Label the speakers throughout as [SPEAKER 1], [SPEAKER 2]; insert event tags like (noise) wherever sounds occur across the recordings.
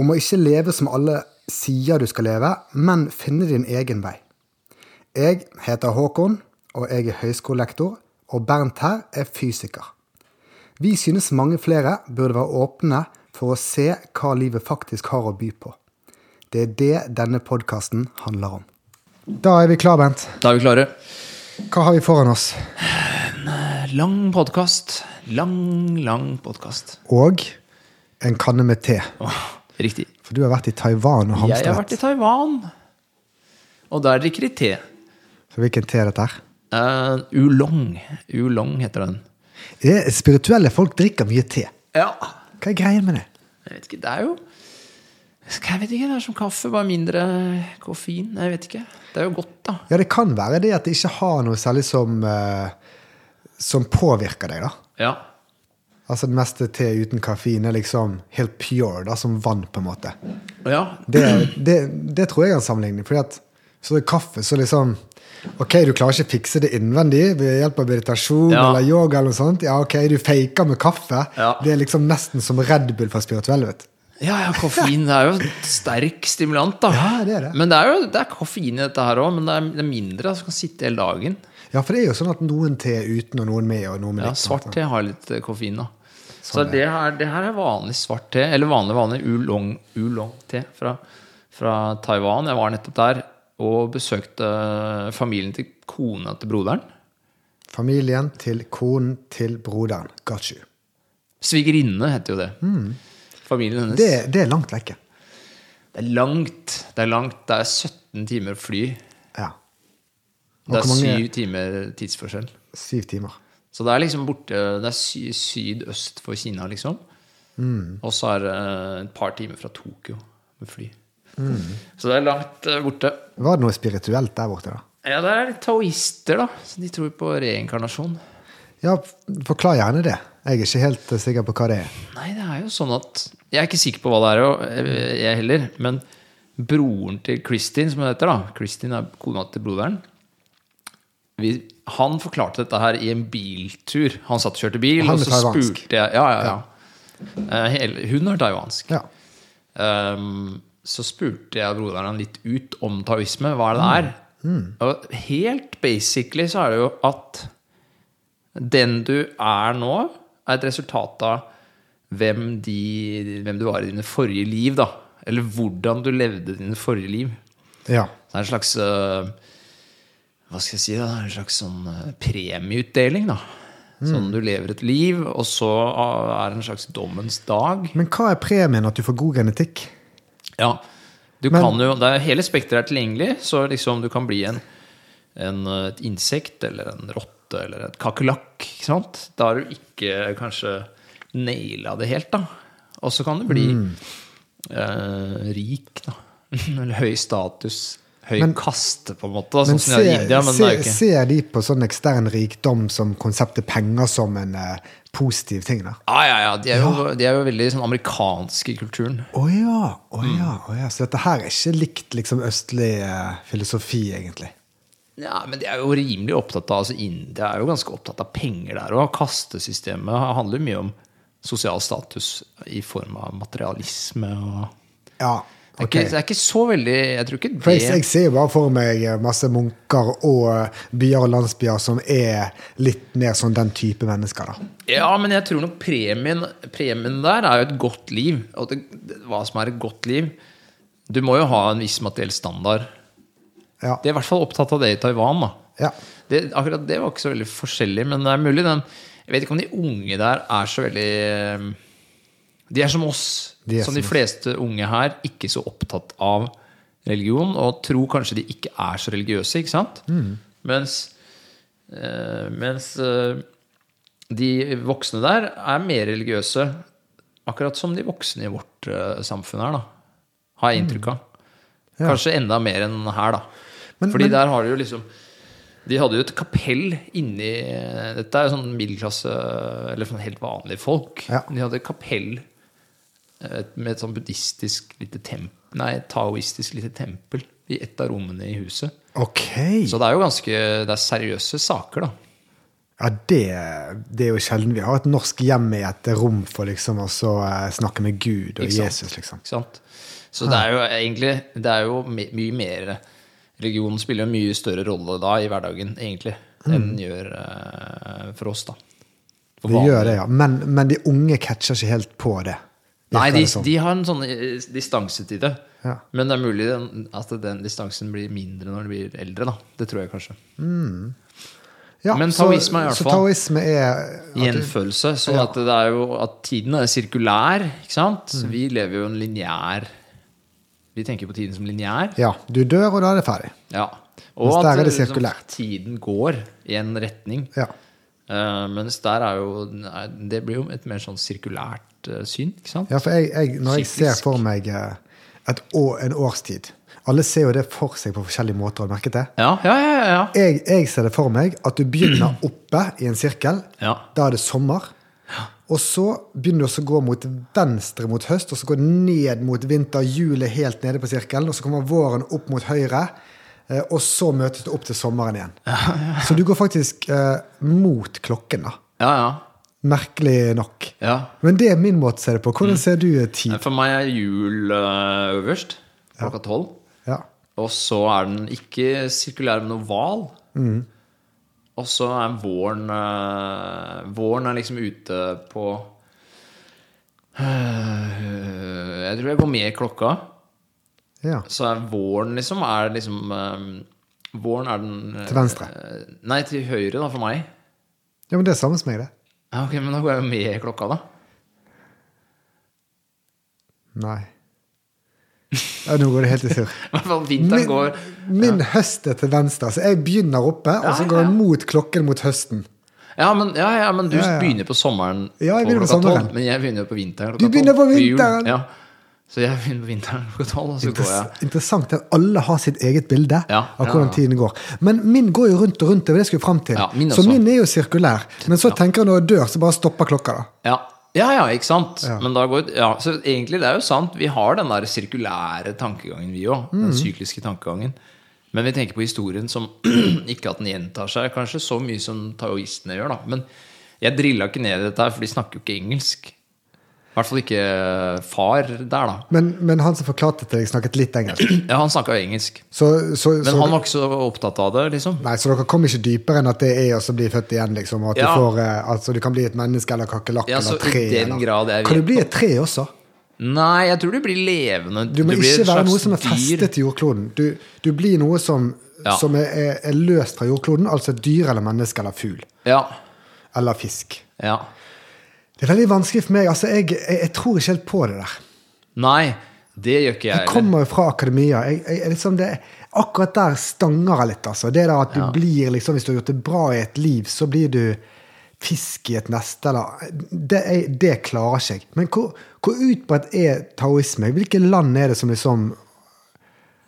[SPEAKER 1] Om å ikke leve som alle sier du skal leve, men finne din egen vei. Jeg heter Håkon, og jeg er høyskolelektor, og Bernt her er fysiker. Vi synes mange flere burde være åpne for å se hva livet faktisk har å by på. Det er det denne podkasten handler om. Da er vi klar, Bent.
[SPEAKER 2] Da er vi klare.
[SPEAKER 1] Hva har vi foran oss?
[SPEAKER 2] Lang podkast. Lang, lang podkast.
[SPEAKER 1] Og en kanne med te.
[SPEAKER 2] Riktig.
[SPEAKER 1] For du har vært i Taiwan og
[SPEAKER 2] Jeg har vært
[SPEAKER 1] hamstret.
[SPEAKER 2] i Taiwan, og der drikker de te.
[SPEAKER 1] Så hvilken te er dette her?
[SPEAKER 2] Eh, Oolong. Oolong heter den.
[SPEAKER 1] Det er Eh, Spirituelle folk drikker mye te.
[SPEAKER 2] Ja.
[SPEAKER 1] Hva er greia med det?
[SPEAKER 2] Jeg vet ikke, det er jo Jeg vet ikke, det er som kaffe, bare mindre koffein. Jeg vet ikke. Det er jo godt, da.
[SPEAKER 1] Ja, det kan være det at det ikke har noe særlig som, eh, som påvirker deg, da.
[SPEAKER 2] Ja.
[SPEAKER 1] Altså det meste te uten kaffein er liksom helt pure, da, som vann, på en måte.
[SPEAKER 2] ja.
[SPEAKER 1] Det, (clears throat) det, det tror jeg er en sammenligning. fordi at så er kaffe så liksom Ok, du klarer ikke fikse det innvendig ved hjelp av meditasjon
[SPEAKER 2] Ja.
[SPEAKER 1] eller yoga. eller noe sånt. Ja, ok, du faker med kaffe.
[SPEAKER 2] Ja.
[SPEAKER 1] Det er liksom nesten som Red Bull for spirituelle. vet du.
[SPEAKER 2] Ja, ja, koffein det er jo sterk stimulant, da.
[SPEAKER 1] Ja, det er det.
[SPEAKER 2] Men det er jo det er koffein i dette her òg, men det er, det er mindre. Altså, du kan sitte hele dagen.
[SPEAKER 1] Ja, for det er jo sånn at noen te er uten, og noen med, og noen med
[SPEAKER 2] Ja,
[SPEAKER 1] litt,
[SPEAKER 2] svart
[SPEAKER 1] sant?
[SPEAKER 2] te har litt eh, koffein, da. så
[SPEAKER 1] Sånn,
[SPEAKER 2] det her, det her er vanlig svart te, eller vanlig vanlig oolong- oolong-te fra, fra Taiwan. Jeg var nettopp der og besøkte familien til kona til broderen.
[SPEAKER 1] Familien til konen til broderen. Got you.
[SPEAKER 2] Svigerinne heter jo det. Familien hennes.
[SPEAKER 1] Mm. Det, det er langt vekke.
[SPEAKER 2] Det er langt. Det er langt. Det er 17 timer fly.
[SPEAKER 1] Ja. Og
[SPEAKER 2] Det er
[SPEAKER 1] hvor mange-
[SPEAKER 2] syv timer tidsforskjell.
[SPEAKER 1] Syv timer.
[SPEAKER 2] Så det er liksom borte Det er sy sydøst for Kina, liksom. Og så er det eh, et par timer fra Tokyo med fly. Så det er langt eh, borte.
[SPEAKER 1] Var det noe spirituelt der borte, da?
[SPEAKER 2] Ja, det er taoister, da. Så de tror på reinkarnasjon.
[SPEAKER 1] Ja, f- forklar gjerne det. Jeg er ikke helt eh, sikker på hva det er.
[SPEAKER 2] Nei, det er jo sånn at Jeg er ikke sikker på hva det er, og, eh, jeg heller. Men broren til Kristin, som hun heter, da Kristin er kona til broderen. Vi, han forklarte dette her i en biltur. Han satt og kjørte bil,
[SPEAKER 1] Han
[SPEAKER 2] og
[SPEAKER 1] er
[SPEAKER 2] så
[SPEAKER 1] taiwansk.
[SPEAKER 2] spurte jeg Ja, ja, ja. Eh, hele- hun er taiwansk.
[SPEAKER 1] Ja.
[SPEAKER 2] Ehm, så spurte jeg broderen han litt ut om taoisme. Hva er det det er? Og helt basically så er det jo at den du er nå, er et resultat av hvem, de, hvem du var i dine forrige liv, da. Eller hvordan du levde dine forrige liv.
[SPEAKER 1] ja.
[SPEAKER 2] Så det er en slags eh, Hva skal jeg si? da? Det er en slags sånn eh, premieutdeling, da. Sånn du lever et liv, og så ah, er det en slags dommens dag.
[SPEAKER 1] Men hva er premien at du får god genetikk?
[SPEAKER 2] Ja, du
[SPEAKER 1] Men-
[SPEAKER 2] kan jo, det er, hele spekteret er tilgjengelig, så liksom du kan bli en, en, eh, et insekt eller en rotte eller et kakerlakk. ikke sant? Da har du ikke kanskje naila det helt, da. Og så kan du bli
[SPEAKER 1] Mm.
[SPEAKER 2] eh, rik, da. (laughs) eller høy status. Høy kaste, på en måte. Da, sånn som det er i India, men
[SPEAKER 1] se,
[SPEAKER 2] det er jo ikke
[SPEAKER 1] ser de på sånn ekstern rikdom som konseptet penger som en eh, positiv ting, da?
[SPEAKER 2] Ja, ja, ja. De er jo, De er jo veldig sånn amerikanske i kulturen.
[SPEAKER 1] Å ja, å
[SPEAKER 2] Mm.
[SPEAKER 1] ja, å ja. Så dette her er ikke likt liksom østlig eh, filosofi, egentlig.
[SPEAKER 2] Ja, men de er jo rimelig opptatt av altså India er jo ganske opptatt av penger der òg. Kastesystemet handler mye om sosial status i form av materialisme og
[SPEAKER 1] Ja,
[SPEAKER 2] det
[SPEAKER 1] ok.
[SPEAKER 2] er, ikke, det er ikke så veldig Jeg tror ikke
[SPEAKER 1] For
[SPEAKER 2] det
[SPEAKER 1] jeg, jeg ser jo bare for meg eh, masse munker og eh, byer og landsbyer som er litt mer sånn den type mennesker, da.
[SPEAKER 2] Ja, men jeg tror nok premien, premien der er jo et godt liv. Og det, det- hva som er et godt liv Du må jo ha en viss materiell standard.
[SPEAKER 1] Ja.
[SPEAKER 2] De er i hvert fall opptatt av det i Taiwan. da
[SPEAKER 1] ja.
[SPEAKER 2] Det, akkurat det var ikke så veldig forskjellig, men det er mulig den Jeg vet ikke om de unge der er så veldig eh, De er som oss.
[SPEAKER 1] De er
[SPEAKER 2] som
[SPEAKER 1] som
[SPEAKER 2] de
[SPEAKER 1] oss.
[SPEAKER 2] fleste unge her, ikke så opptatt av religion. Og tror kanskje de ikke er så religiøse, ikke sant?
[SPEAKER 1] Mm.
[SPEAKER 2] Mens, eh, mens eh, de voksne der er mer religiøse. Akkurat som de voksne i vårt eh, samfunn er, da. har jeg inntrykk
[SPEAKER 1] Mm.
[SPEAKER 2] av. Kanskje enda mer enn her, da.
[SPEAKER 1] Men-
[SPEAKER 2] Fordi
[SPEAKER 1] men-
[SPEAKER 2] der har de jo liksom De hadde jo et kapell inni Dette er jo sånn middelklasse Eller sånn helt vanlige folk.
[SPEAKER 1] Ja.
[SPEAKER 2] De hadde et kapell eh, med et sånn buddhistisk lite tempel Nei, taoistisk lite tempel i et av rommene i huset.
[SPEAKER 1] Ok.
[SPEAKER 2] Så det er jo ganske Det er seriøse saker, da.
[SPEAKER 1] Ja, det, det er jo sjelden vi har et norsk hjem i et rom for liksom å så, eh, snakke med Gud og
[SPEAKER 2] Ikke sant?
[SPEAKER 1] Jesus, liksom.
[SPEAKER 2] Ikke sant? Så det er jo egentlig Det er jo my- mye mer Religionen spiller en mye større rolle da i hverdagen, egentlig, enn den gjør eh, for oss, da. For
[SPEAKER 1] Mm. Det gjør det, ja. Men, men de unge catcher ikke helt på det.
[SPEAKER 2] Nei,
[SPEAKER 1] Virker
[SPEAKER 2] de,
[SPEAKER 1] det som.
[SPEAKER 2] de har en sånn eh, distanse til det.
[SPEAKER 1] Ja.
[SPEAKER 2] Men det er mulig den- at den distansen blir mindre når de blir eldre. Da. Det tror jeg kanskje.
[SPEAKER 1] Ja,
[SPEAKER 2] men
[SPEAKER 1] så-
[SPEAKER 2] taoisme er i hvert
[SPEAKER 1] Så
[SPEAKER 2] fall-
[SPEAKER 1] taoisme er
[SPEAKER 2] Gjenfølelse. Så at det er jo at tiden er sirkulær. Ikke sant?
[SPEAKER 1] Mm.
[SPEAKER 2] Så vi lever jo en lineær Vi tenker på tiden som lineær.
[SPEAKER 1] Ja, du dør, og da er det ferdig.
[SPEAKER 2] Ja.
[SPEAKER 1] Mens der er det
[SPEAKER 2] liksom,
[SPEAKER 1] sirkulært.
[SPEAKER 2] tiden går i en retning.
[SPEAKER 1] Ja.
[SPEAKER 2] Eh, mens der er jo nei, Det blir jo et mer sånn sirkulært eh, syn, ikke sant?
[SPEAKER 1] Ja, for jeg, jeg, når jeg ser
[SPEAKER 2] Syklisk.
[SPEAKER 1] for meg eh, et år, en årstid Alle ser jo det for seg på forskjellige måter, har du merket det?
[SPEAKER 2] Ja, ja, ja. ja, ja.
[SPEAKER 1] Jeg, jeg ser det for meg at du begynner
[SPEAKER 2] (clears throat)
[SPEAKER 1] oppe i en sirkel.
[SPEAKER 2] Ja.
[SPEAKER 1] Da er det sommer. Og så begynner du også å gå mot venstre mot høst, og så går det ned mot vinter, hjulet helt nede på sirkelen, og så kommer våren opp mot høyre, eh, og så møtes du opp til sommeren igjen. Så du går faktisk eh, mot klokken, da.
[SPEAKER 2] ja, ja.
[SPEAKER 1] Merkelig nok.
[SPEAKER 2] ja.
[SPEAKER 1] Men det er min måte å se det på. Hvordan ser du eh, tid?
[SPEAKER 2] For meg er jul eh, øverst, klokka tolv.
[SPEAKER 1] Ja.
[SPEAKER 2] Og så er den ikke sirkulær, men oval.
[SPEAKER 1] Mm.
[SPEAKER 2] Og så er våren eh, Våren er liksom ute på eh, Jeg tror jeg går med i klokka.
[SPEAKER 1] ja.
[SPEAKER 2] Så er våren liksom, er liksom eh, Våren er den eh,
[SPEAKER 1] Til venstre.
[SPEAKER 2] eh, Nei, til høyre, da, for meg.
[SPEAKER 1] Ja, men det er samme som meg, det.
[SPEAKER 2] Ja, ok, Men da går jeg jo med i klokka, da. (laughs)
[SPEAKER 1] Nei. Ja, nå går det helt i
[SPEAKER 2] (laughs)
[SPEAKER 1] surr.
[SPEAKER 2] I hvert fall vinteren går
[SPEAKER 1] min høst er til venstre, så jeg begynner oppe, og så
[SPEAKER 2] Ja,
[SPEAKER 1] går
[SPEAKER 2] ja.
[SPEAKER 1] jeg mot klokken mot høsten.
[SPEAKER 2] Ja, men, ja, ja, men du
[SPEAKER 1] Ja, ja.
[SPEAKER 2] begynner på sommeren
[SPEAKER 1] Ja, jeg begynner på
[SPEAKER 2] klokka
[SPEAKER 1] sommeren.
[SPEAKER 2] tolv, Men jeg begynner på vinteren
[SPEAKER 1] Du
[SPEAKER 2] klokka
[SPEAKER 1] begynner
[SPEAKER 2] tolv,
[SPEAKER 1] på
[SPEAKER 2] jul.
[SPEAKER 1] vinteren!
[SPEAKER 2] Ja. Så jeg begynner på vinteren (laughs) klokka tolv, og så går jeg
[SPEAKER 1] Interess interessant at alle har sitt eget bilde
[SPEAKER 2] Ja,
[SPEAKER 1] av
[SPEAKER 2] ja,
[SPEAKER 1] hvordan
[SPEAKER 2] ja.
[SPEAKER 1] tiden går. Men min går jo rundt og rundt, det var det jeg skulle fram til.
[SPEAKER 2] Ja, min
[SPEAKER 1] så
[SPEAKER 2] også.
[SPEAKER 1] min er jo sirkulær. Men så tenker jeg når jeg dør, så bare stopper klokka, da.
[SPEAKER 2] Ja, ja, ja ikke sant? Men da går, ja, så egentlig, det er jo sant. Vi har den der sirkulære tankegangen, vi òg.
[SPEAKER 1] Mm.
[SPEAKER 2] Den sykliske tankegangen. Men vi tenker på historien som (clears throat) ikke at den gjentar seg kanskje så mye som taoistene gjør. da. Men jeg drilla ikke ned i dette, her, for de snakker jo ikke engelsk. I hvert fall ikke eh, far der, da. (clears throat)
[SPEAKER 1] Men, men han som forklarte det til deg, snakket litt engelsk.
[SPEAKER 2] Ja, han snakka jo engelsk.
[SPEAKER 1] Så, så, så,
[SPEAKER 2] Men han var ikke så opptatt av det, liksom.
[SPEAKER 1] Nei, så dere kom ikke dypere enn at det er å bli født igjen, liksom? og At
[SPEAKER 2] Ja.
[SPEAKER 1] du får, eh, altså, du kan bli et menneske eller kakerlakk
[SPEAKER 2] Ja, så
[SPEAKER 1] eller
[SPEAKER 2] i
[SPEAKER 1] tre?
[SPEAKER 2] den
[SPEAKER 1] eller-
[SPEAKER 2] grad jeg
[SPEAKER 1] Kan
[SPEAKER 2] vet
[SPEAKER 1] du bli et tre også?
[SPEAKER 2] Nei, jeg tror du blir levende.
[SPEAKER 1] Du må
[SPEAKER 2] blir
[SPEAKER 1] ikke
[SPEAKER 2] et
[SPEAKER 1] være
[SPEAKER 2] slags
[SPEAKER 1] noe som er
[SPEAKER 2] dyr.
[SPEAKER 1] festet til jordkloden. Du, du blir noe som,
[SPEAKER 2] Ja.
[SPEAKER 1] som er, er, er løst fra jordkloden, altså et dyr eller menneske eller fugl.
[SPEAKER 2] Ja.
[SPEAKER 1] Eller fisk.
[SPEAKER 2] ja.
[SPEAKER 1] Det er veldig vanskelig for meg. altså Jeg, jeg, jeg tror ikke helt på det der.
[SPEAKER 2] Nei, det gjør ikke jeg
[SPEAKER 1] Jeg
[SPEAKER 2] heller.
[SPEAKER 1] kommer jo fra akademia. Jeg, jeg, jeg liksom det, akkurat der stanger jeg litt. altså. Det der at du blir, liksom, Hvis du har gjort det bra i et liv, så blir du fisk i et neste. Eller, det, er- det klarer ikke jeg. Men hvor, hvor utbredt er taoisme? Hvilke land er det som liksom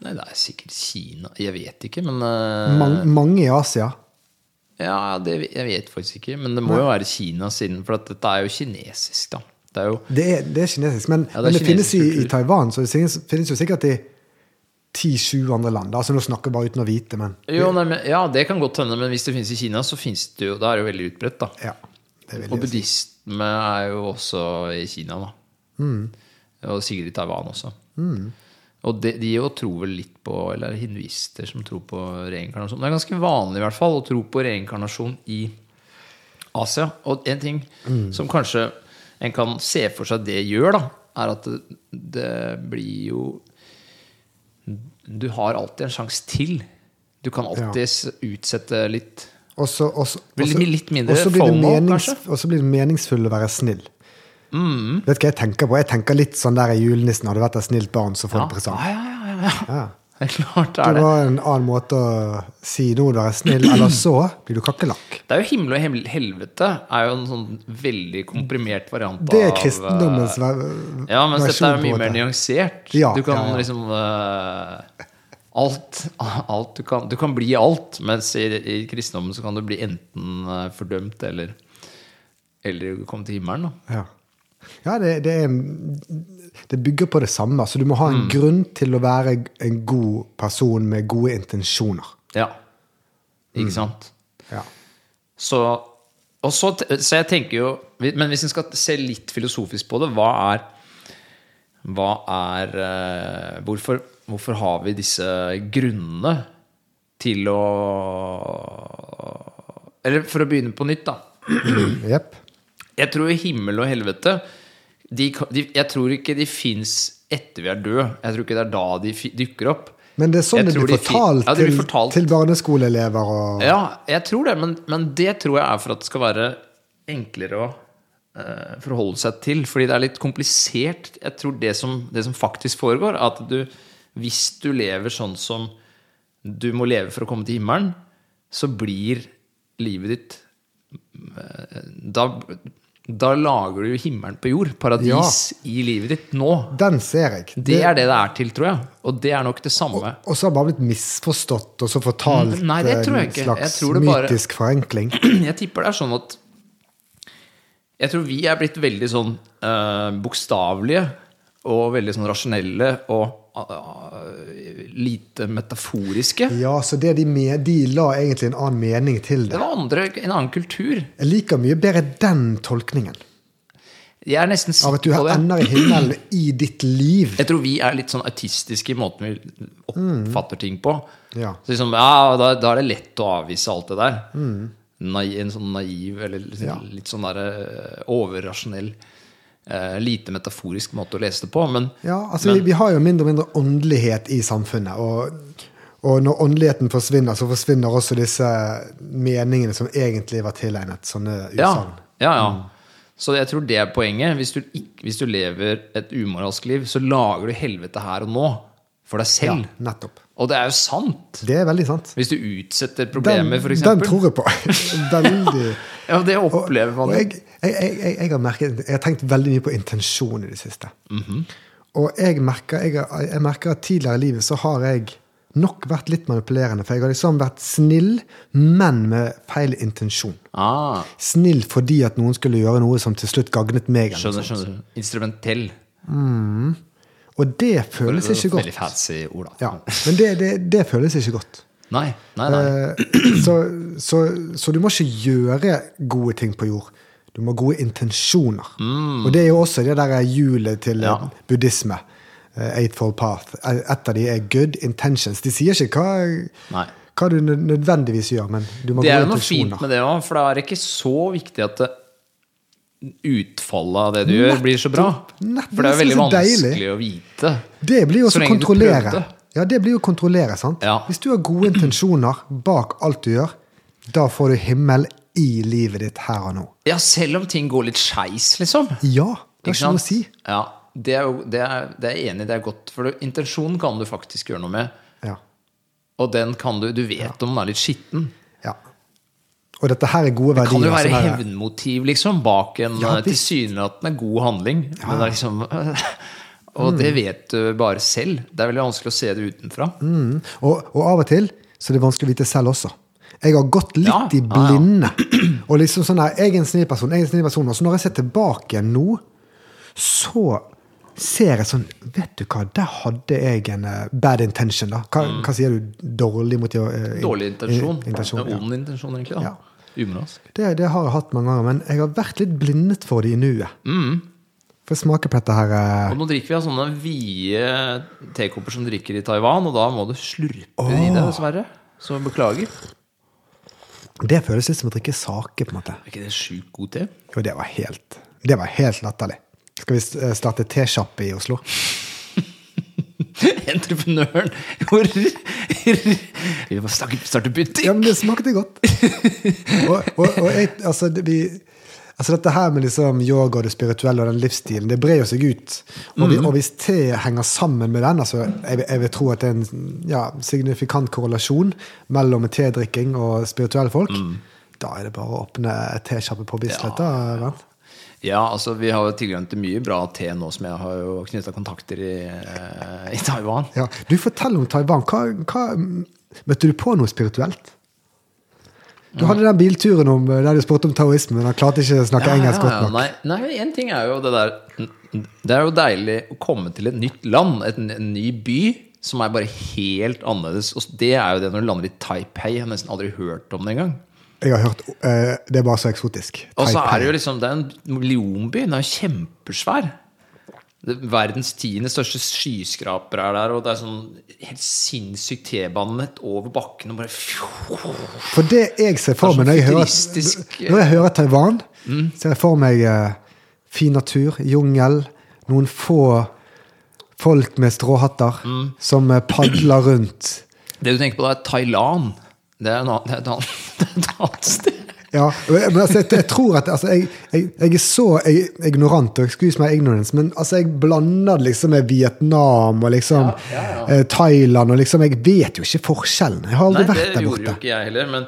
[SPEAKER 2] Nei, det er sikkert Kina. Jeg vet ikke, men eh,
[SPEAKER 1] man, Mange i Asia?
[SPEAKER 2] Ja, det, jeg vet faktisk ikke. Men det må jo være Kina siden, for at dette er jo kinesisk, da. Det er jo
[SPEAKER 1] Det er, det er kinesisk, men,
[SPEAKER 2] Ja, det er
[SPEAKER 1] men det
[SPEAKER 2] kinesisk
[SPEAKER 1] finnes i, i
[SPEAKER 2] kultur.
[SPEAKER 1] Taiwan, så det finnes, finnes jo sikkert i 10-20 andre land. da. Altså, nå snakker jeg bare uten å vite, men
[SPEAKER 2] jo, nei, men, Ja, det kan godt hende, men hvis det finnes i Kina, så finnes det jo Da er det jo veldig utbredt, da.
[SPEAKER 1] ja, det vil jeg
[SPEAKER 2] Og
[SPEAKER 1] si.
[SPEAKER 2] buddhisme er jo også i Kina, da.
[SPEAKER 1] Mm.
[SPEAKER 2] Og sikkert i Taiwan også. Og de, de jo tror vel litt på Eller hinduister som tror på reinkarnasjon. Det er ganske vanlig i hvert fall å tro på reinkarnasjon i Asia. Og en ting
[SPEAKER 1] Mm.
[SPEAKER 2] som kanskje en kan se for seg det gjør, da, er at det, det blir jo Du har alltid en sjanse til. Du kan alltid utsette litt.
[SPEAKER 1] Og så- og så-
[SPEAKER 2] Blir det
[SPEAKER 1] og så-
[SPEAKER 2] litt mindre
[SPEAKER 1] og så blir det
[SPEAKER 2] FOMO,
[SPEAKER 1] menings-
[SPEAKER 2] kanskje? Mm.
[SPEAKER 1] Og så blir det meningsfull å være snill. Vet du hva jeg tenker på? Jeg tenker litt sånn der julenissen. Hadde vært et snilt barn, så får du presang.
[SPEAKER 2] ja, ja, ja, ja.
[SPEAKER 1] Ja.
[SPEAKER 2] Det er klart det er
[SPEAKER 1] Det
[SPEAKER 2] det.
[SPEAKER 1] var en annen måte å si nå, være snill, eller så blir du kakerlakk.
[SPEAKER 2] Det er jo himmel og hemmel- helvete er jo en sånn veldig komprimert variant
[SPEAKER 1] Det er
[SPEAKER 2] av, eh,
[SPEAKER 1] kristendommens ver
[SPEAKER 2] Ja, mens dette
[SPEAKER 1] versjon, på
[SPEAKER 2] er
[SPEAKER 1] en
[SPEAKER 2] mye mer
[SPEAKER 1] måte.
[SPEAKER 2] nyansert.
[SPEAKER 1] Ja,
[SPEAKER 2] du kan
[SPEAKER 1] ja, ja.
[SPEAKER 2] liksom eh, Alt, alt du, kan, du kan bli alt, mens i, i kristendommen så kan du bli enten eh, fordømt eller Eller komme til himmelen. Da.
[SPEAKER 1] Ja, ja det, det, er, det bygger på det samme. Så du må ha
[SPEAKER 2] Mm.
[SPEAKER 1] en grunn til å være en god person med gode intensjoner.
[SPEAKER 2] Ja. Ikke
[SPEAKER 1] Mm.
[SPEAKER 2] sant?
[SPEAKER 1] Ja.
[SPEAKER 2] Så, og så, te- så jeg tenker jo Men hvis en skal se litt filosofisk på det, hva er, hva er eh, hvorfor, hvorfor har vi disse grunnene til å Eller for å begynne på nytt, da.
[SPEAKER 1] Jepp.
[SPEAKER 2] Jeg tror himmel og helvete de, ka- de, Jeg tror ikke de fins etter vi er døde. Jeg tror ikke det er da de fi- dukker opp.
[SPEAKER 1] Men det er sånn
[SPEAKER 2] Jeg
[SPEAKER 1] det
[SPEAKER 2] tror
[SPEAKER 1] blir
[SPEAKER 2] de fi-
[SPEAKER 1] fortalt,
[SPEAKER 2] ja, det blir
[SPEAKER 1] til-
[SPEAKER 2] fortalt.
[SPEAKER 1] til barneskoleelever og
[SPEAKER 2] Ja, jeg tror det, men, men det tror jeg er for at det skal være enklere å eh, forholde seg til. Fordi det er litt komplisert. Jeg tror det som, det som faktisk foregår, er at du, hvis du lever sånn som du må leve for å komme til himmelen, så blir livet ditt eh, da, da lager du jo himmelen på jord. Paradis i livet ditt nå.
[SPEAKER 1] Den ser jeg.
[SPEAKER 2] Det er det det er til, tror jeg. Og det er nok det samme.
[SPEAKER 1] Og så har det bare blitt misforstått og så fortalt
[SPEAKER 2] Mm, nei, det tror jeg
[SPEAKER 1] en
[SPEAKER 2] ikke. Jeg
[SPEAKER 1] slags
[SPEAKER 2] tror det bare-
[SPEAKER 1] mytisk forenkling.
[SPEAKER 2] (clears throat) jeg tipper det er sånn at Jeg tror vi er blitt veldig sånn eh, bokstavelige og veldig sånn rasjonelle og eh, lite metaforiske.
[SPEAKER 1] Ja, så det de, med, de la egentlig en annen mening til
[SPEAKER 2] Det
[SPEAKER 1] det.
[SPEAKER 2] var andre, en annen kultur.
[SPEAKER 1] Jeg liker mye bedre den tolkningen.
[SPEAKER 2] Jeg er nesten
[SPEAKER 1] Av at du
[SPEAKER 2] sikker på det.
[SPEAKER 1] ender i himmelen i ditt liv.
[SPEAKER 2] Jeg tror vi er litt sånn autistiske i måten vi oppfatter ting på.
[SPEAKER 1] Mm, Ja.
[SPEAKER 2] Så liksom, ja, da, da er det lett å avvise alt det der.
[SPEAKER 1] Mm.
[SPEAKER 2] Nai- en sånn naiv, eller litt, litt sånn der, eh, overrasjonell, eh, lite metaforisk måte å lese det på. Men
[SPEAKER 1] Ja, altså vi, vi har jo mindre og mindre åndelighet i samfunnet. Og, og når åndeligheten forsvinner, så forsvinner også disse meningene som egentlig var tilegnet sånne utsagn.
[SPEAKER 2] Ja, ja,
[SPEAKER 1] Mm.
[SPEAKER 2] ja. Så jeg tror det er poenget. Hvis du, ikke, hvis du lever et umoralsk liv, så lager du helvete her og nå. For deg
[SPEAKER 1] Ja,
[SPEAKER 2] selv.
[SPEAKER 1] nettopp.
[SPEAKER 2] Og det er jo sant!
[SPEAKER 1] Det er veldig sant.
[SPEAKER 2] Hvis du utsetter
[SPEAKER 1] Den,
[SPEAKER 2] problemer, f.eks.
[SPEAKER 1] den tror
[SPEAKER 2] (laughs)
[SPEAKER 1] jeg på. veldig.
[SPEAKER 2] Ja, det opplever
[SPEAKER 1] Og
[SPEAKER 2] man jo.
[SPEAKER 1] jeg, jeg, jeg, jeg, jeg, har merket, jeg har tenkt veldig mye på intensjon i det siste.
[SPEAKER 2] Mhm.
[SPEAKER 1] Og jeg merker, jeg, jeg merker at tidligere i livet så har jeg nok vært litt manipulerende. For jeg har liksom vært snill, men med feil intensjon.
[SPEAKER 2] Ah,
[SPEAKER 1] snill fordi at noen skulle gjøre noe som til slutt gagnet meg. eller noe
[SPEAKER 2] skjønner, skjønner. Instrumentell.
[SPEAKER 1] sånt. Og det føles
[SPEAKER 2] Det er
[SPEAKER 1] ikke godt.
[SPEAKER 2] Veldig fancy ord, da.
[SPEAKER 1] Ja, men det, det, det føles ikke godt.
[SPEAKER 2] Nei, nei, nei.
[SPEAKER 1] Eh, Så, så, så du må ikke gjøre gode ting på jord. Du må ha gode intensjoner. Og det er jo også det der hjulet til eh,
[SPEAKER 2] Mm. Ja.
[SPEAKER 1] buddhisme. eh, Eightfold Path. Eh, Et av de er good intentions. De sier ikke hva,
[SPEAKER 2] Nei.
[SPEAKER 1] hva du nød- nødvendigvis gjør, men du må
[SPEAKER 2] Det
[SPEAKER 1] ha
[SPEAKER 2] er
[SPEAKER 1] gode
[SPEAKER 2] jo noe fint
[SPEAKER 1] intensjoner.
[SPEAKER 2] med det òg, for da er det ikke så viktig at det- utfallet av det du gjør, blir så bra.
[SPEAKER 1] Nettopp.
[SPEAKER 2] For det er
[SPEAKER 1] Det
[SPEAKER 2] veldig
[SPEAKER 1] er så deilig.
[SPEAKER 2] vanskelig å vite.
[SPEAKER 1] Det blir jo
[SPEAKER 2] Så
[SPEAKER 1] også
[SPEAKER 2] lenge du
[SPEAKER 1] kontrollere.
[SPEAKER 2] prøvde.
[SPEAKER 1] Ja, det blir jo kontrollere, sant?
[SPEAKER 2] Ja.
[SPEAKER 1] Hvis du har gode intensjoner bak alt du gjør, da får du himmel i livet ditt her og nå.
[SPEAKER 2] Ja, selv om ting går litt skeis, liksom.
[SPEAKER 1] Ja, det har ikke
[SPEAKER 2] Ikke
[SPEAKER 1] noe å
[SPEAKER 2] sant?
[SPEAKER 1] si.
[SPEAKER 2] Ja, det er, jo- det, er, det er jeg enig i, det er godt. For du- intensjonen kan du faktisk gjøre noe med.
[SPEAKER 1] Ja.
[SPEAKER 2] Og den kan du Du vet om den er litt skitten.
[SPEAKER 1] ja. Og dette her er gode
[SPEAKER 2] Det kan
[SPEAKER 1] verdier.
[SPEAKER 2] jo være
[SPEAKER 1] som er-
[SPEAKER 2] hevnmotiv, liksom, bak en
[SPEAKER 1] Ja,
[SPEAKER 2] eh,
[SPEAKER 1] visst.
[SPEAKER 2] tilsynelatende god handling. Men det er liksom (laughs) Og det vet du bare selv. Det er veldig vanskelig å se det utenfra.
[SPEAKER 1] Mm. Og, og av og til så er det vanskelig å vite selv også. Jeg har gått litt
[SPEAKER 2] Ja,
[SPEAKER 1] i
[SPEAKER 2] ja, ja.
[SPEAKER 1] blinde. Og liksom sånn her, jeg er en snill person, jeg er en snill person. Og så når jeg ser tilbake igjen nå, så ser jeg sånn Vet du hva, der hadde jeg en eh, bad intention, da. Hva, hva sier du? Dårlig motiv? eh, in-
[SPEAKER 2] Mm. Dårlig intensjon.
[SPEAKER 1] in- intensjon
[SPEAKER 2] ja.
[SPEAKER 1] ja.
[SPEAKER 2] Ond intensjon, egentlig. da.
[SPEAKER 1] Ja.
[SPEAKER 2] Umoralsk.
[SPEAKER 1] det, det har jeg hatt mange ganger, men jeg har vært litt blindet for det i nuet.
[SPEAKER 2] Mm.
[SPEAKER 1] Får smake på dette her eh,
[SPEAKER 2] Og nå drikker vi av sånne vide tekopper som drikker i Taiwan, og da må du slurpe i det, dessverre. Så beklager.
[SPEAKER 1] Det føles litt som å drikke sake, på en måte.
[SPEAKER 2] Er ikke det sjukt god te? (laughs)
[SPEAKER 1] Jo, det var helt, det var helt latterlig. Skal vi eh, starte tesjappe i Oslo?
[SPEAKER 2] Entreprenøren hvor (laughs) Vi må snakke- starte butikk!
[SPEAKER 1] Ja, men det smakte godt. Og, og, og jeg, altså, det- vi Altså dette her med liksom yoga og det spirituelle og den livsstilen, det brer jo seg ut. Og, vi, og hvis te henger sammen med den, altså jeg, vil- jeg vil tro at det er en ja, signifikant korrelasjon mellom tedrikking og spirituelle folk, da er det bare å åpne et tesjappe på Bislett. da, Bernt.
[SPEAKER 2] Ja, altså vi har jo tilgang til mye bra te nå som jeg har jo knytta kontakter i, eh, i Taiwan.
[SPEAKER 1] Ja. Du forteller om Taiwan. Hva, hva, møtte du på noe spirituelt? Du hadde den bilturen om, eh, der du spurte om taoisme, men han klarte ikke å snakke
[SPEAKER 2] Ja,
[SPEAKER 1] engelsk
[SPEAKER 2] ja,
[SPEAKER 1] godt
[SPEAKER 2] ja.
[SPEAKER 1] nok.
[SPEAKER 2] Nei, nei, en ting er jo det der Det er jo deilig å komme til et nytt land, et, en ny by, som er bare helt annerledes. Og det er jo det når du lander i Taipei. Jeg har nesten aldri hørt om det engang.
[SPEAKER 1] Jeg har hørt eh, Det er bare så eksotisk.
[SPEAKER 2] Og så
[SPEAKER 1] Taipei.
[SPEAKER 2] er det jo liksom Det er en millionby. Den er jo kjempesvær. Det, verdens tiende største skyskraper er der, og det er sånn helt sinnssykt T-banenett over bakken og bare fjo,
[SPEAKER 1] For det jeg ser for
[SPEAKER 2] Det er
[SPEAKER 1] meg når jeg
[SPEAKER 2] sånn
[SPEAKER 1] hører,
[SPEAKER 2] futuristisk, mm. eh.
[SPEAKER 1] når jeg hører Taiwan, ser jeg for meg eh, fin natur, jungel, noen få folk med stråhatter
[SPEAKER 2] Mm.
[SPEAKER 1] som eh, padler rundt.
[SPEAKER 2] Det du tenker på da, er Thailand. Det er, en annen, det er, et, annet, (laughs) det er et annet sted.
[SPEAKER 1] Ja, men altså, jeg, jeg tror at altså, jeg, jeg, jeg er så jeg, ignorant, og excuse my ignorance, men altså, jeg blander det liksom med Vietnam og liksom eh, Thailand, og liksom Jeg vet jo ikke forskjellen. Jeg har aldri
[SPEAKER 2] Nei, det
[SPEAKER 1] vært der
[SPEAKER 2] gjorde jo
[SPEAKER 1] borte.
[SPEAKER 2] ikke jeg heller. Men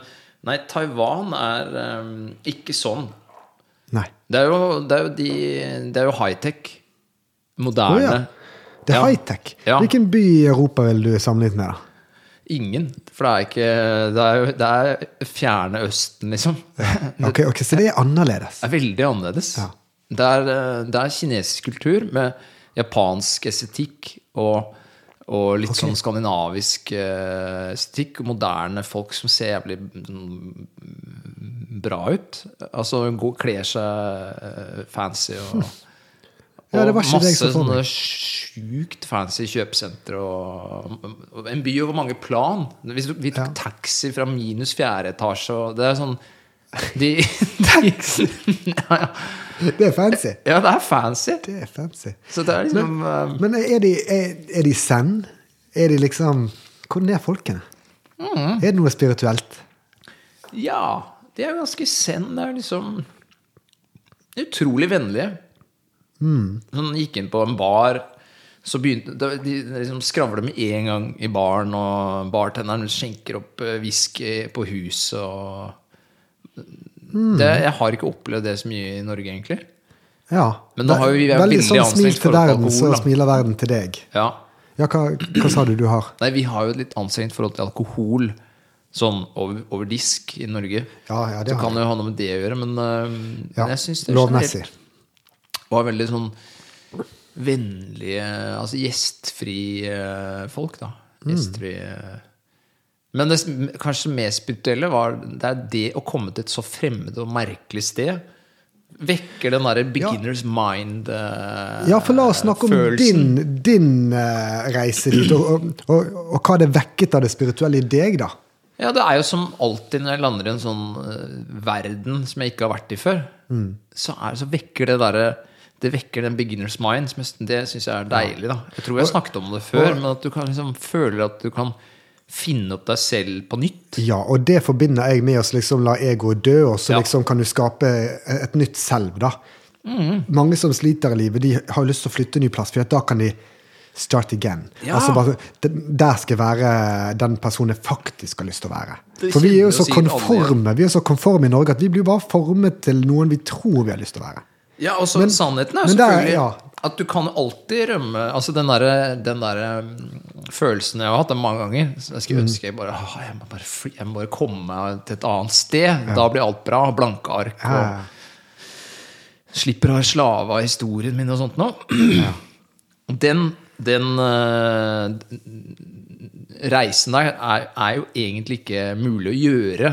[SPEAKER 2] nei, Taiwan er ehm, ikke sånn.
[SPEAKER 1] Nei.
[SPEAKER 2] Det er jo, det er jo, de, det er jo high-tech.
[SPEAKER 1] Å
[SPEAKER 2] Moderne.
[SPEAKER 1] ja. Det er
[SPEAKER 2] Ja.
[SPEAKER 1] high-tech.
[SPEAKER 2] Ja.
[SPEAKER 1] Hvilken by i Europa vil du sammenligne med, da?
[SPEAKER 2] Ingen. For det er ikke Det er, jo, det er fjerne Østen, liksom. Det
[SPEAKER 1] Ok, ok, Så det er annerledes.
[SPEAKER 2] er veldig annerledes.
[SPEAKER 1] Ja.
[SPEAKER 2] Det, er, eh, det er kinesisk kultur med japansk estetikk og, og litt sånn skandinavisk eh, estetikk. og Moderne folk som ser jævlig mm, bra ut. Altså går, kler seg eh, fancy og
[SPEAKER 1] Ja, det var ikke det jeg så
[SPEAKER 2] masse
[SPEAKER 1] for
[SPEAKER 2] sånne
[SPEAKER 1] meg.
[SPEAKER 2] sjukt fancy kjøpesentre og, og en by over mange plan. Hvis du, vi tok taxi fra minus fjerde etasje og Det er sånn
[SPEAKER 1] (laughs)
[SPEAKER 2] de, de (laughs) ja, ja.
[SPEAKER 1] Det er fancy.
[SPEAKER 2] ja, det er fancy.
[SPEAKER 1] Det er fancy.
[SPEAKER 2] Så det er liksom eh,
[SPEAKER 1] Men er de, er, er de zen? Er de liksom Hvordan er folkene?
[SPEAKER 2] Mm.
[SPEAKER 1] Er det noe spirituelt?
[SPEAKER 2] Ja. De er jo ganske zen. Det er liksom utrolig vennlige.
[SPEAKER 1] Mm.
[SPEAKER 2] Sånn gikk inn på en bar, så begynte da- De liksom skravler med en gang i baren, og bartenderen skjenker opp eh, whisky på huset og
[SPEAKER 1] Mm.
[SPEAKER 2] det, Jeg har ikke opplevd det så mye i Norge, egentlig.
[SPEAKER 1] Ja.
[SPEAKER 2] Men nå har jo vi vært
[SPEAKER 1] Veldig
[SPEAKER 2] veldig
[SPEAKER 1] sånn
[SPEAKER 2] anstrengt
[SPEAKER 1] smil til
[SPEAKER 2] forhold til
[SPEAKER 1] verden, så
[SPEAKER 2] alkohol, da.
[SPEAKER 1] smiler verden til deg.
[SPEAKER 2] Ja
[SPEAKER 1] Ja, hva, hva sa du du har?
[SPEAKER 2] Nei, vi har jo et litt anstrengt forhold til alkohol sånn over, over disk i Norge.
[SPEAKER 1] Ja, ja, det
[SPEAKER 2] så
[SPEAKER 1] har
[SPEAKER 2] kan det jo ha noe med det å gjøre, men øhm,
[SPEAKER 1] Ja,
[SPEAKER 2] jeg syns det
[SPEAKER 1] lovmessig.
[SPEAKER 2] generelt var veldig sånn vennlige, altså gjestfrie eh, folk, da.
[SPEAKER 1] Mm.
[SPEAKER 2] Gjestfrie eh. Men det som kanskje mest spirituelle var det er det å komme til et så fremmed og merkelig sted. Vekker den derre beginner's mind eh,
[SPEAKER 1] Ja, for la oss snakke om
[SPEAKER 2] følelsen.
[SPEAKER 1] din, din eh, reise dit, og, og, og, og hva det vekket av det spirituelle i deg, da.
[SPEAKER 2] Ja, det er jo som alltid når jeg lander i en sånn eh, verden som jeg ikke har vært i før,
[SPEAKER 1] Mm.
[SPEAKER 2] så, er, så vekker det derre det vekker den beginner's mind. Som jeg, det syns jeg er deilig. da Jeg tror jeg har snakket om det før, men at du kan liksom føler at du kan finne opp deg selv på nytt.
[SPEAKER 1] Ja, og det forbinder jeg med å liksom la egoet dø, og så
[SPEAKER 2] Ja.
[SPEAKER 1] liksom kan du skape et nytt selv, da.
[SPEAKER 2] Mm.
[SPEAKER 1] Mange som sliter i livet, de har jo lyst til å flytte en ny plass, for at da kan de start again.
[SPEAKER 2] Ja.
[SPEAKER 1] Altså bare, "D- Der skal jeg være den personen jeg faktisk har lyst til å være.
[SPEAKER 2] Det
[SPEAKER 1] For vi er jo
[SPEAKER 2] kjenner
[SPEAKER 1] så
[SPEAKER 2] jo sikkert alle igjen.
[SPEAKER 1] konforme vi er så konforme i Norge at vi blir bare formet til noen vi tror vi har lyst til å være.
[SPEAKER 2] Ja, og så
[SPEAKER 1] Men-
[SPEAKER 2] Sannheten er
[SPEAKER 1] altså, men det er-
[SPEAKER 2] selvfølgelig
[SPEAKER 1] ja.
[SPEAKER 2] at du kan alltid rømme Altså Den derre den derre, mm, følelsen jeg har hatt den mange ganger så Jeg skulle
[SPEAKER 1] Mm.
[SPEAKER 2] ønske jeg bare, «Åh, jeg må bare, fly, jeg må bare komme meg til et annet sted. Da blir alt bra. Blanke ark. Og,
[SPEAKER 1] Ja.
[SPEAKER 2] slipper å være slave av historien min og sånt nå. Den, den eh, reisen der er, er jo egentlig ikke mulig å gjøre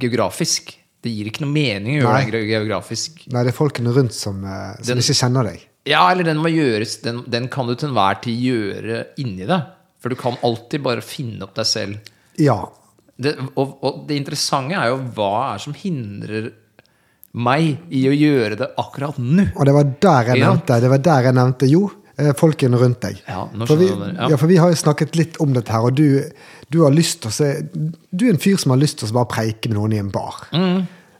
[SPEAKER 2] geografisk. Det gir ikke noe mening å gjøre
[SPEAKER 1] Nei.
[SPEAKER 2] det geografisk.
[SPEAKER 1] Nei, det er folkene rundt som, eh, som
[SPEAKER 2] Den-
[SPEAKER 1] ikke kjenner deg.
[SPEAKER 2] Ja, eller den må gjøres Den, den kan du til enhver tid gjøre inni deg. For du kan alltid bare finne opp deg selv.
[SPEAKER 1] Ja.
[SPEAKER 2] Det, og, og det interessante er jo hva er som hindrer meg i å gjøre det akkurat nå.
[SPEAKER 1] Og det var der jeg
[SPEAKER 2] Ja.
[SPEAKER 1] nevnte, det var der jeg nevnte jo, eh, folkene rundt deg.
[SPEAKER 2] Ja, nå
[SPEAKER 1] for, vi,
[SPEAKER 2] skjønner jeg det, ja.
[SPEAKER 1] ja, for vi har jo snakket litt om dette her, og du, du har lyst til å se Du er en fyr som har lyst til å bare preike med noen i en bar.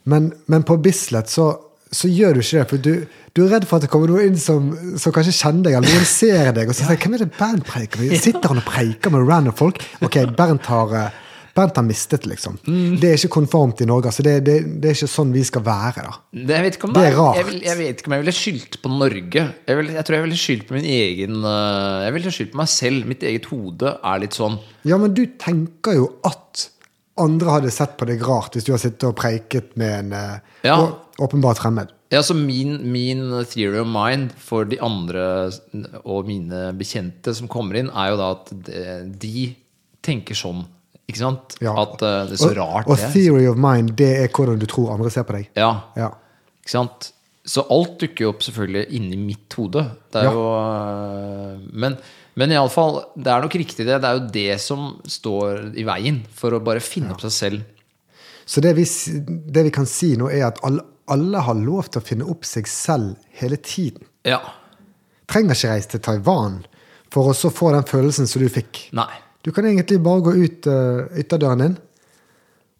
[SPEAKER 1] Men, men på Bislett så, så gjør du ikke det. For du, du er redd for at det kommer noen inn som, som kanskje kjenner deg, eller noen ser deg, og så sier hvem er det Bernt preiker med? Sitter han og preiker med random folk? Ok, Bernt har, eh, Bernt har mistet, liksom. Det er ikke konformt i Norge. Altså det, det, det er ikke sånn vi skal være, da.
[SPEAKER 2] Det, jeg, vet ikke om
[SPEAKER 1] Det er rart.
[SPEAKER 2] Jeg, vil, jeg vet ikke om jeg ville skyldt på Norge. Jeg, vil, jeg tror jeg ville skyldt på min egen øh, Jeg ville skyldt på meg selv. Mitt eget hode er litt sånn
[SPEAKER 1] Ja, men du tenker jo at andre hadde sett på deg rart hvis du har sittet og preiket med en eh,
[SPEAKER 2] Ja.
[SPEAKER 1] å- åpenbart fremmed.
[SPEAKER 2] Ja, så min, min theory of mind for de andre og mine bekjente som kommer inn, er jo da at de- de tenker sånn. Ikke sant?
[SPEAKER 1] Ja.
[SPEAKER 2] At øh, det er så rart,
[SPEAKER 1] og, og
[SPEAKER 2] det.
[SPEAKER 1] theory of mind, det er hvordan du tror andre ser på deg.
[SPEAKER 2] Ja.
[SPEAKER 1] Ja.
[SPEAKER 2] Ikke sant? Så alt dukker jo opp selvfølgelig inni mitt hode. Det er
[SPEAKER 1] Ja.
[SPEAKER 2] jo, øh, men men iallfall, det er nok riktig det. Det er jo det som står i veien for å bare finne opp seg selv.
[SPEAKER 1] Så det vi, s- det vi kan si nå, er at alle, alle har lov til å finne opp seg selv hele tiden.
[SPEAKER 2] Ja.
[SPEAKER 1] Trenger ikke reise til Taiwan for å så få den følelsen som du fikk.
[SPEAKER 2] Nei.
[SPEAKER 1] Du kan egentlig bare gå ut eh, ytterdøren din,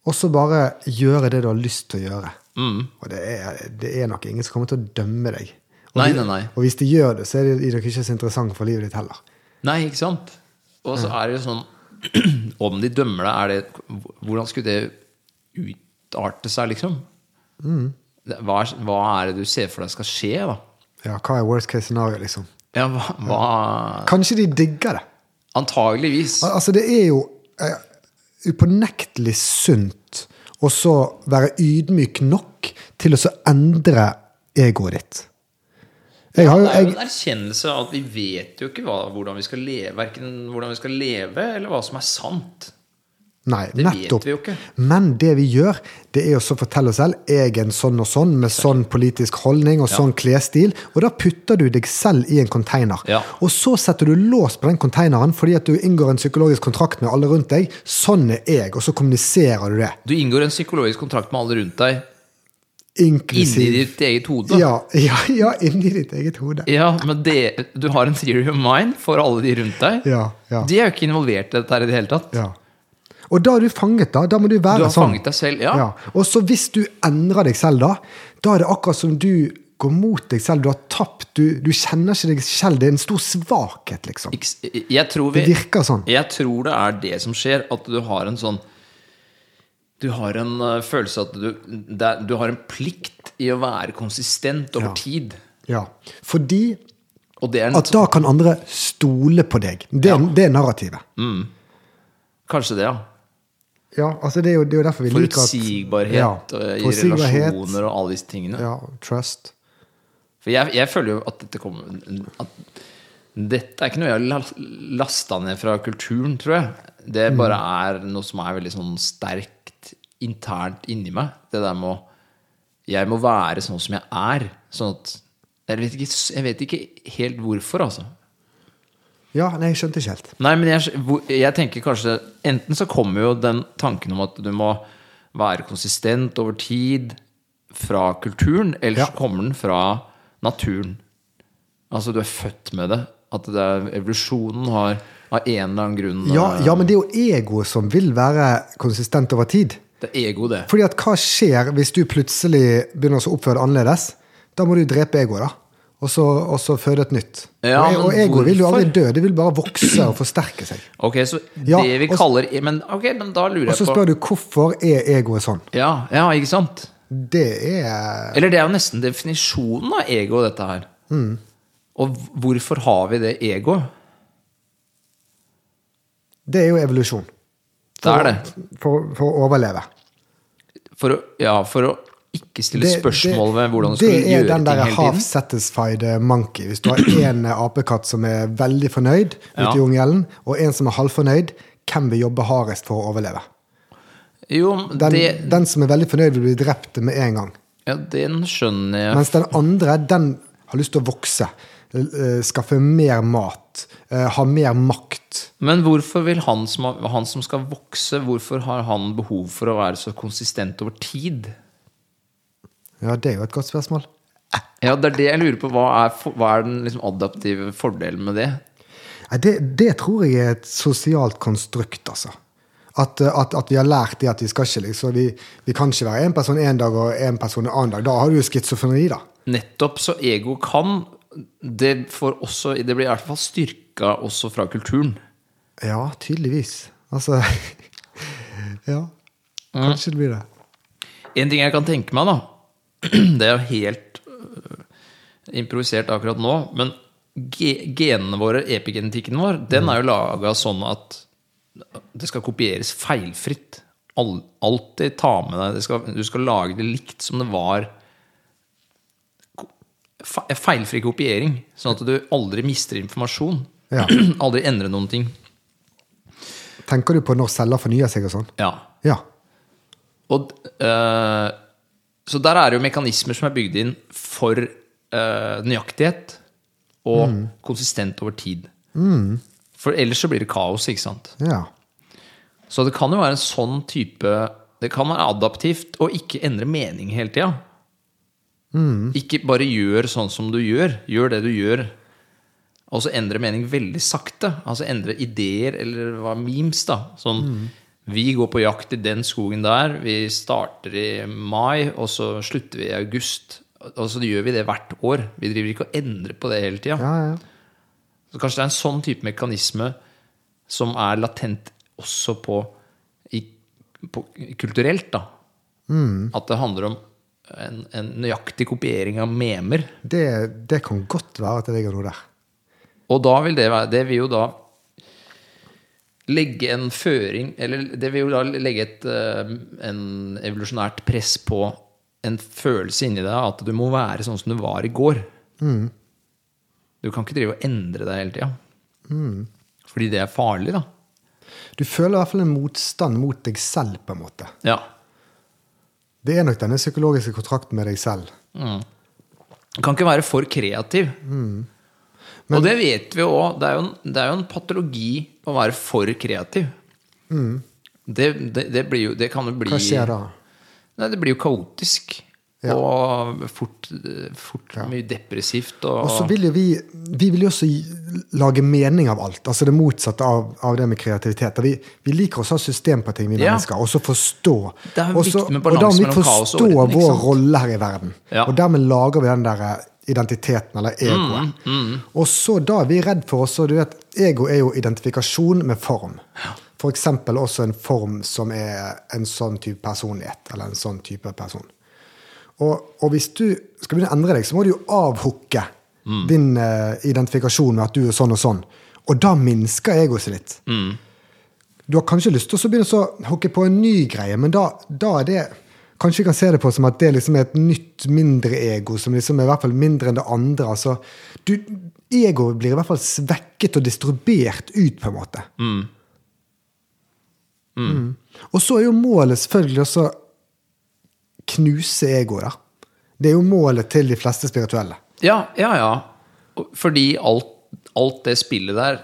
[SPEAKER 1] og så bare gjøre det du har lyst til å gjøre.
[SPEAKER 2] Mm.
[SPEAKER 1] Og det er, det er nok ingen som kommer til å dømme deg. Og,
[SPEAKER 2] Nei,
[SPEAKER 1] de-
[SPEAKER 2] nei, nei.
[SPEAKER 1] og hvis de gjør det, så er de nok ikke så interessant for livet ditt heller.
[SPEAKER 2] Nei, ikke sant? Og så er det jo sånn (clears throat) Om de dømmer deg, er det Hvordan skulle det utarte seg, liksom? Det- Hva, er- hva er det du ser for deg skal skje, da?
[SPEAKER 1] Ja, hva er worst case scenario, liksom?
[SPEAKER 2] Ja, hva, hva
[SPEAKER 1] Kanskje de digger det.
[SPEAKER 2] Antageligvis.
[SPEAKER 1] Al- Altså, det er jo eh, upånektelig sunt å så være ydmyk nok til å så endre egoet ditt. Jeg har jo,
[SPEAKER 2] Det er jo
[SPEAKER 1] jeg,
[SPEAKER 2] en erkjennelse av at vi vet jo ikke hva, hvordan vi skal leve, verken hvordan vi skal leve, eller hva som er sant.
[SPEAKER 1] nei,
[SPEAKER 2] Det
[SPEAKER 1] nettopp.
[SPEAKER 2] vet vi jo ikke.
[SPEAKER 1] Men det vi gjør, det er jo så å fortelle oss selv jeg er en sånn og sånn, med sånn politisk holdning og sånn klesstil. Og da putter du deg selv i en container.
[SPEAKER 2] Ja.
[SPEAKER 1] Og så setter du lås på den containeren fordi at du inngår en psykologisk kontrakt med alle rundt deg. Sånn er jeg, og så kommuniserer du det.
[SPEAKER 2] Du inngår en psykologisk kontrakt med alle rundt deg inni
[SPEAKER 1] Inklusiv
[SPEAKER 2] ditt eget hode.
[SPEAKER 1] Ja, ja, ja, inni ditt eget hode.
[SPEAKER 2] Ja, men det, du har en theory of mind for alle de rundt deg.
[SPEAKER 1] Ja, ja.
[SPEAKER 2] De er jo ikke involvert i dette her i det hele tatt.
[SPEAKER 1] Ja. Og da er du fanget, da. Da må du
[SPEAKER 2] Du
[SPEAKER 1] være
[SPEAKER 2] har
[SPEAKER 1] sånn.
[SPEAKER 2] fanget deg selv. Ja.
[SPEAKER 1] Ja. Og så hvis du endrer deg selv, da, da er det akkurat som du går mot deg selv. Du har tapt. Du, du kjenner ikke deg selv. Det er en stor svakhet, liksom.
[SPEAKER 2] Ikke s- Jeg tror vi
[SPEAKER 1] Det virker sånn.
[SPEAKER 2] Jeg tror det er det som skjer, at du har en sånn Du har en eh, følelse at du det, er- Du har en plikt i å være konsistent over
[SPEAKER 1] Ja.
[SPEAKER 2] tid.
[SPEAKER 1] Ja. Fordi
[SPEAKER 2] Og det er en
[SPEAKER 1] at da kan andre stole på deg. Det, er- det er narrativet.
[SPEAKER 2] Kanskje det, ja.
[SPEAKER 1] Ja, altså det er jo, det er jo derfor vi liker at
[SPEAKER 2] Forutsigbarhet
[SPEAKER 1] Ja,
[SPEAKER 2] eh, i
[SPEAKER 1] forutsigbarhet,
[SPEAKER 2] relasjoner og alle disse tingene.
[SPEAKER 1] Ja, trust.
[SPEAKER 2] For jeg, jeg føler jo at dette kommer at Dette er ikke noe jeg har lasta ned fra kulturen, tror jeg. Det
[SPEAKER 1] Mm.
[SPEAKER 2] bare er noe som er veldig sånn sterkt internt inni meg. Det der med å Jeg må være sånn som jeg er. Sånn at Jeg vet ikke, jeg vet ikke helt hvorfor, altså.
[SPEAKER 1] Ja, nei, jeg skjønte ikke helt.
[SPEAKER 2] Nei, men jeg, hvor- jeg tenker kanskje Enten så kommer jo den tanken om at du må være konsistent over tid fra kulturen, eller så
[SPEAKER 1] Ja.
[SPEAKER 2] kommer den fra naturen. Altså du er født med det. At det er, evolusjonen har av en eller annen grunn eh,
[SPEAKER 1] Ja, ja, men det er jo egoet som vil være konsistent over tid.
[SPEAKER 2] Det er ego, det.
[SPEAKER 1] Fordi at hva skjer hvis du plutselig begynner å oppføre deg annerledes? Da må du drepe egoet, da. Og så, og så føde et nytt.
[SPEAKER 2] Ja,
[SPEAKER 1] og og
[SPEAKER 2] men
[SPEAKER 1] egoet vil jo aldri
[SPEAKER 2] hvorfor?
[SPEAKER 1] dø, det vil bare vokse og forsterke seg.
[SPEAKER 2] Ok, så
[SPEAKER 1] Ja,
[SPEAKER 2] det vi
[SPEAKER 1] og så-
[SPEAKER 2] kaller e- men, Ok, men da lurer
[SPEAKER 1] Og så
[SPEAKER 2] jeg på
[SPEAKER 1] spør du hvorfor er egoet sånn.
[SPEAKER 2] ja, ja, ikke sant?
[SPEAKER 1] Det er
[SPEAKER 2] Eller det er jo nesten definisjonen av ego, dette her.
[SPEAKER 1] Mm.
[SPEAKER 2] Og hvorfor har vi det egoet?
[SPEAKER 1] Det er jo evolusjon.
[SPEAKER 2] Det er det.
[SPEAKER 1] For, for å overleve.
[SPEAKER 2] For å, ja, for å ikke stille
[SPEAKER 1] Det-
[SPEAKER 2] spørsmål ved hvordan du
[SPEAKER 1] det
[SPEAKER 2] skal gjøre
[SPEAKER 1] er den
[SPEAKER 2] ting
[SPEAKER 1] der
[SPEAKER 2] hele
[SPEAKER 1] half
[SPEAKER 2] tiden.
[SPEAKER 1] satisfied monkey. Hvis du har én apekatt som er veldig fornøyd ute
[SPEAKER 2] Ja.
[SPEAKER 1] i ungelen, og en som er halvfornøyd, hvem vil jobbe hardest for å overleve?
[SPEAKER 2] Jo,
[SPEAKER 1] Den,
[SPEAKER 2] det,
[SPEAKER 1] den som er veldig fornøyd, vil bli drept med en gang.
[SPEAKER 2] ja, den skjønner jeg.
[SPEAKER 1] Mens den andre, den har lyst til å vokse. eh, Skaffe mer mat. eh, Ha mer makt.
[SPEAKER 2] Men hvorfor vil han som, har- han som skal vokse, hvorfor har han behov for å være så konsistent over tid?
[SPEAKER 1] Ja, det er jo et godt spørsmål.
[SPEAKER 2] Ja, det er det jeg lurer på. Hva er, for, hva er den liksom adaptive fordelen med det?
[SPEAKER 1] Nei, Det, det tror jeg er et sosialt konstrukt, altså. At, eh, at, at vi har lært det at vi skal ikke liksom, vi, vi kan ikke være én person en dag og én person en annen dag. Da har du jo schizofreni, da.
[SPEAKER 2] Nettopp så ego kan, det, får også, det blir i hvert fall styrka også fra kulturen.
[SPEAKER 1] Ja, tydeligvis. Altså (laughs) Ja. Kanskje det blir det.
[SPEAKER 2] En ting jeg kan tenke meg, da (clears throat) Det er jo helt øh, improvisert akkurat nå, men ge- genene våre, epigenetikken vår, den er jo laga sånn at det skal kopieres feilfritt. Al- Alltid ta med deg det skal, Du skal lage det likt som det var. Ko- fe- Feilfri kopiering, sånn at du aldri mister informasjon.
[SPEAKER 1] Ja.
[SPEAKER 2] (clears throat) aldri endrer noen ting.
[SPEAKER 1] Tenker du på når celler fornyer seg og sånn?
[SPEAKER 2] Ja.
[SPEAKER 1] Ja.
[SPEAKER 2] Og, eh, så der er det jo mekanismer som er bygd inn for eh, nøyaktighet og konsistent over tid. For ellers så blir det kaos, ikke sant.
[SPEAKER 1] Ja.
[SPEAKER 2] Så det kan jo være en sånn type Det kan være adaptivt å ikke endre mening hele tida. Ikke bare gjør sånn som du gjør. Gjør det du gjør. Og så endre mening veldig sakte. Altså endre ideer, eller hva memes, da. Sånn Vi går på jakt i den skogen der. Vi starter i mai, og så slutter vi i august. Og så gjør vi det hvert år. Vi driver ikke og endrer på det hele tida.
[SPEAKER 1] ja, ja.
[SPEAKER 2] Så kanskje det er en sånn type mekanisme som er latent også på, i, på kulturelt, da. At det handler om en, en nøyaktig kopiering av memer.
[SPEAKER 1] Det, det kan godt være at det ligger noe der.
[SPEAKER 2] Og da vil det være Det vil jo da legge en føring Eller det vil jo da legge et eh, en evolusjonært press på en følelse inni deg at du må være sånn som du var i går. Du kan ikke drive og endre deg hele tida. Fordi det er farlig, da.
[SPEAKER 1] Du føler i hvert fall en motstand mot deg selv, på en måte.
[SPEAKER 2] Ja.
[SPEAKER 1] Det er nok denne psykologiske kontrakten med deg selv.
[SPEAKER 2] Du kan ikke være for kreativ.
[SPEAKER 1] Mm.
[SPEAKER 2] og det vet vi jo òg. Det, er jo en- det er jo en patologi å være for kreativ.
[SPEAKER 1] Mm.
[SPEAKER 2] Det, det, det, blir jo, det kan jo bli
[SPEAKER 1] Hva skjer da?
[SPEAKER 2] Nei, det blir jo kaotisk.
[SPEAKER 1] Ja.
[SPEAKER 2] Og fort, fort mye depressivt. Og,
[SPEAKER 1] Og så vil jo vi Vi vil jo også gi- lage mening av alt. Altså det motsatte av, av det med kreativitet. Vi, vi liker også å ha system på ting, vi
[SPEAKER 2] Ja.
[SPEAKER 1] mennesker. Og så forstå.
[SPEAKER 2] Det er jo
[SPEAKER 1] Og så-
[SPEAKER 2] viktig med
[SPEAKER 1] og da må
[SPEAKER 2] balanse
[SPEAKER 1] vi
[SPEAKER 2] mellom kaos og
[SPEAKER 1] forstå
[SPEAKER 2] orden, ikke
[SPEAKER 1] vår
[SPEAKER 2] sant?
[SPEAKER 1] rolle her i verden.
[SPEAKER 2] Ja.
[SPEAKER 1] Og dermed lager vi den der eh, identiteten, eller egoet. Og så da er vi redd for også Du vet, ego er jo identifikasjon med form. For eksempel også en form som er en sånn type personlighet, eller en sånn type person. Og, og hvis du skal begynne å endre deg, så må du jo avhooke din eh, identifikasjon med at du er sånn og sånn. Og da minsker egoet seg litt. Du har kanskje lyst til å så begynne å så hooke på en ny greie, men da, da er det Kanskje vi kan se det på som at det liksom er et nytt, mindre ego, som liksom er i hvert fall mindre enn det andre. altså. Du, egoet blir i hvert fall svekket og distribuert ut, på en måte. Mm. Og så er jo målet selvfølgelig også knuse egoet der. Det er jo målet til de fleste spirituelle.
[SPEAKER 2] Ja, ja, ja. Og- Fordi alt, alt det spillet der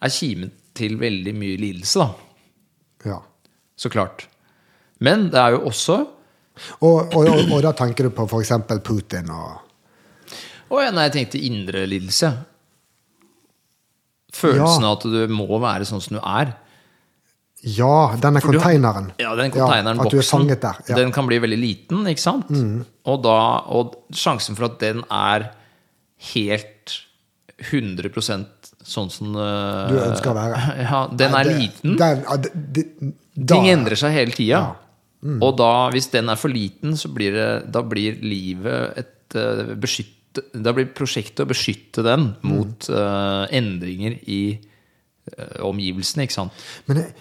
[SPEAKER 2] er kimen til veldig mye lidelse, da.
[SPEAKER 1] Ja.
[SPEAKER 2] Så klart. Men det er jo også
[SPEAKER 1] Og, og, og, og da tenker du på f.eks. Putin og
[SPEAKER 2] Å ja, nei, jeg tenkte indre lidelse. Følelsen
[SPEAKER 1] Ja.
[SPEAKER 2] av at du må være sånn som du er.
[SPEAKER 1] Ja, denne
[SPEAKER 2] du-
[SPEAKER 1] konteineren.
[SPEAKER 2] Ja, den konteineren,
[SPEAKER 1] Ja, at du er
[SPEAKER 2] boksen,
[SPEAKER 1] fanget der. Ja. Mm.
[SPEAKER 2] den kan bli veldig liten, ikke sant? Og, da, og sjansen for at den er helt 100 sånn som
[SPEAKER 1] Du ønsker å være.
[SPEAKER 2] (laughs) Ja, den
[SPEAKER 1] Nei,
[SPEAKER 2] er
[SPEAKER 1] det-
[SPEAKER 2] liten.
[SPEAKER 1] Den, ja, det- det- da-
[SPEAKER 2] Ting endrer seg hele tida.
[SPEAKER 1] Mm.
[SPEAKER 2] Og da, hvis den er for liten, så blir, det, da blir livet et eh, beskytte, Da blir prosjektet å beskytte den
[SPEAKER 1] Mm.
[SPEAKER 2] mot eh, endringer i eh, omgivelsene, ikke sant?
[SPEAKER 1] Men jeg,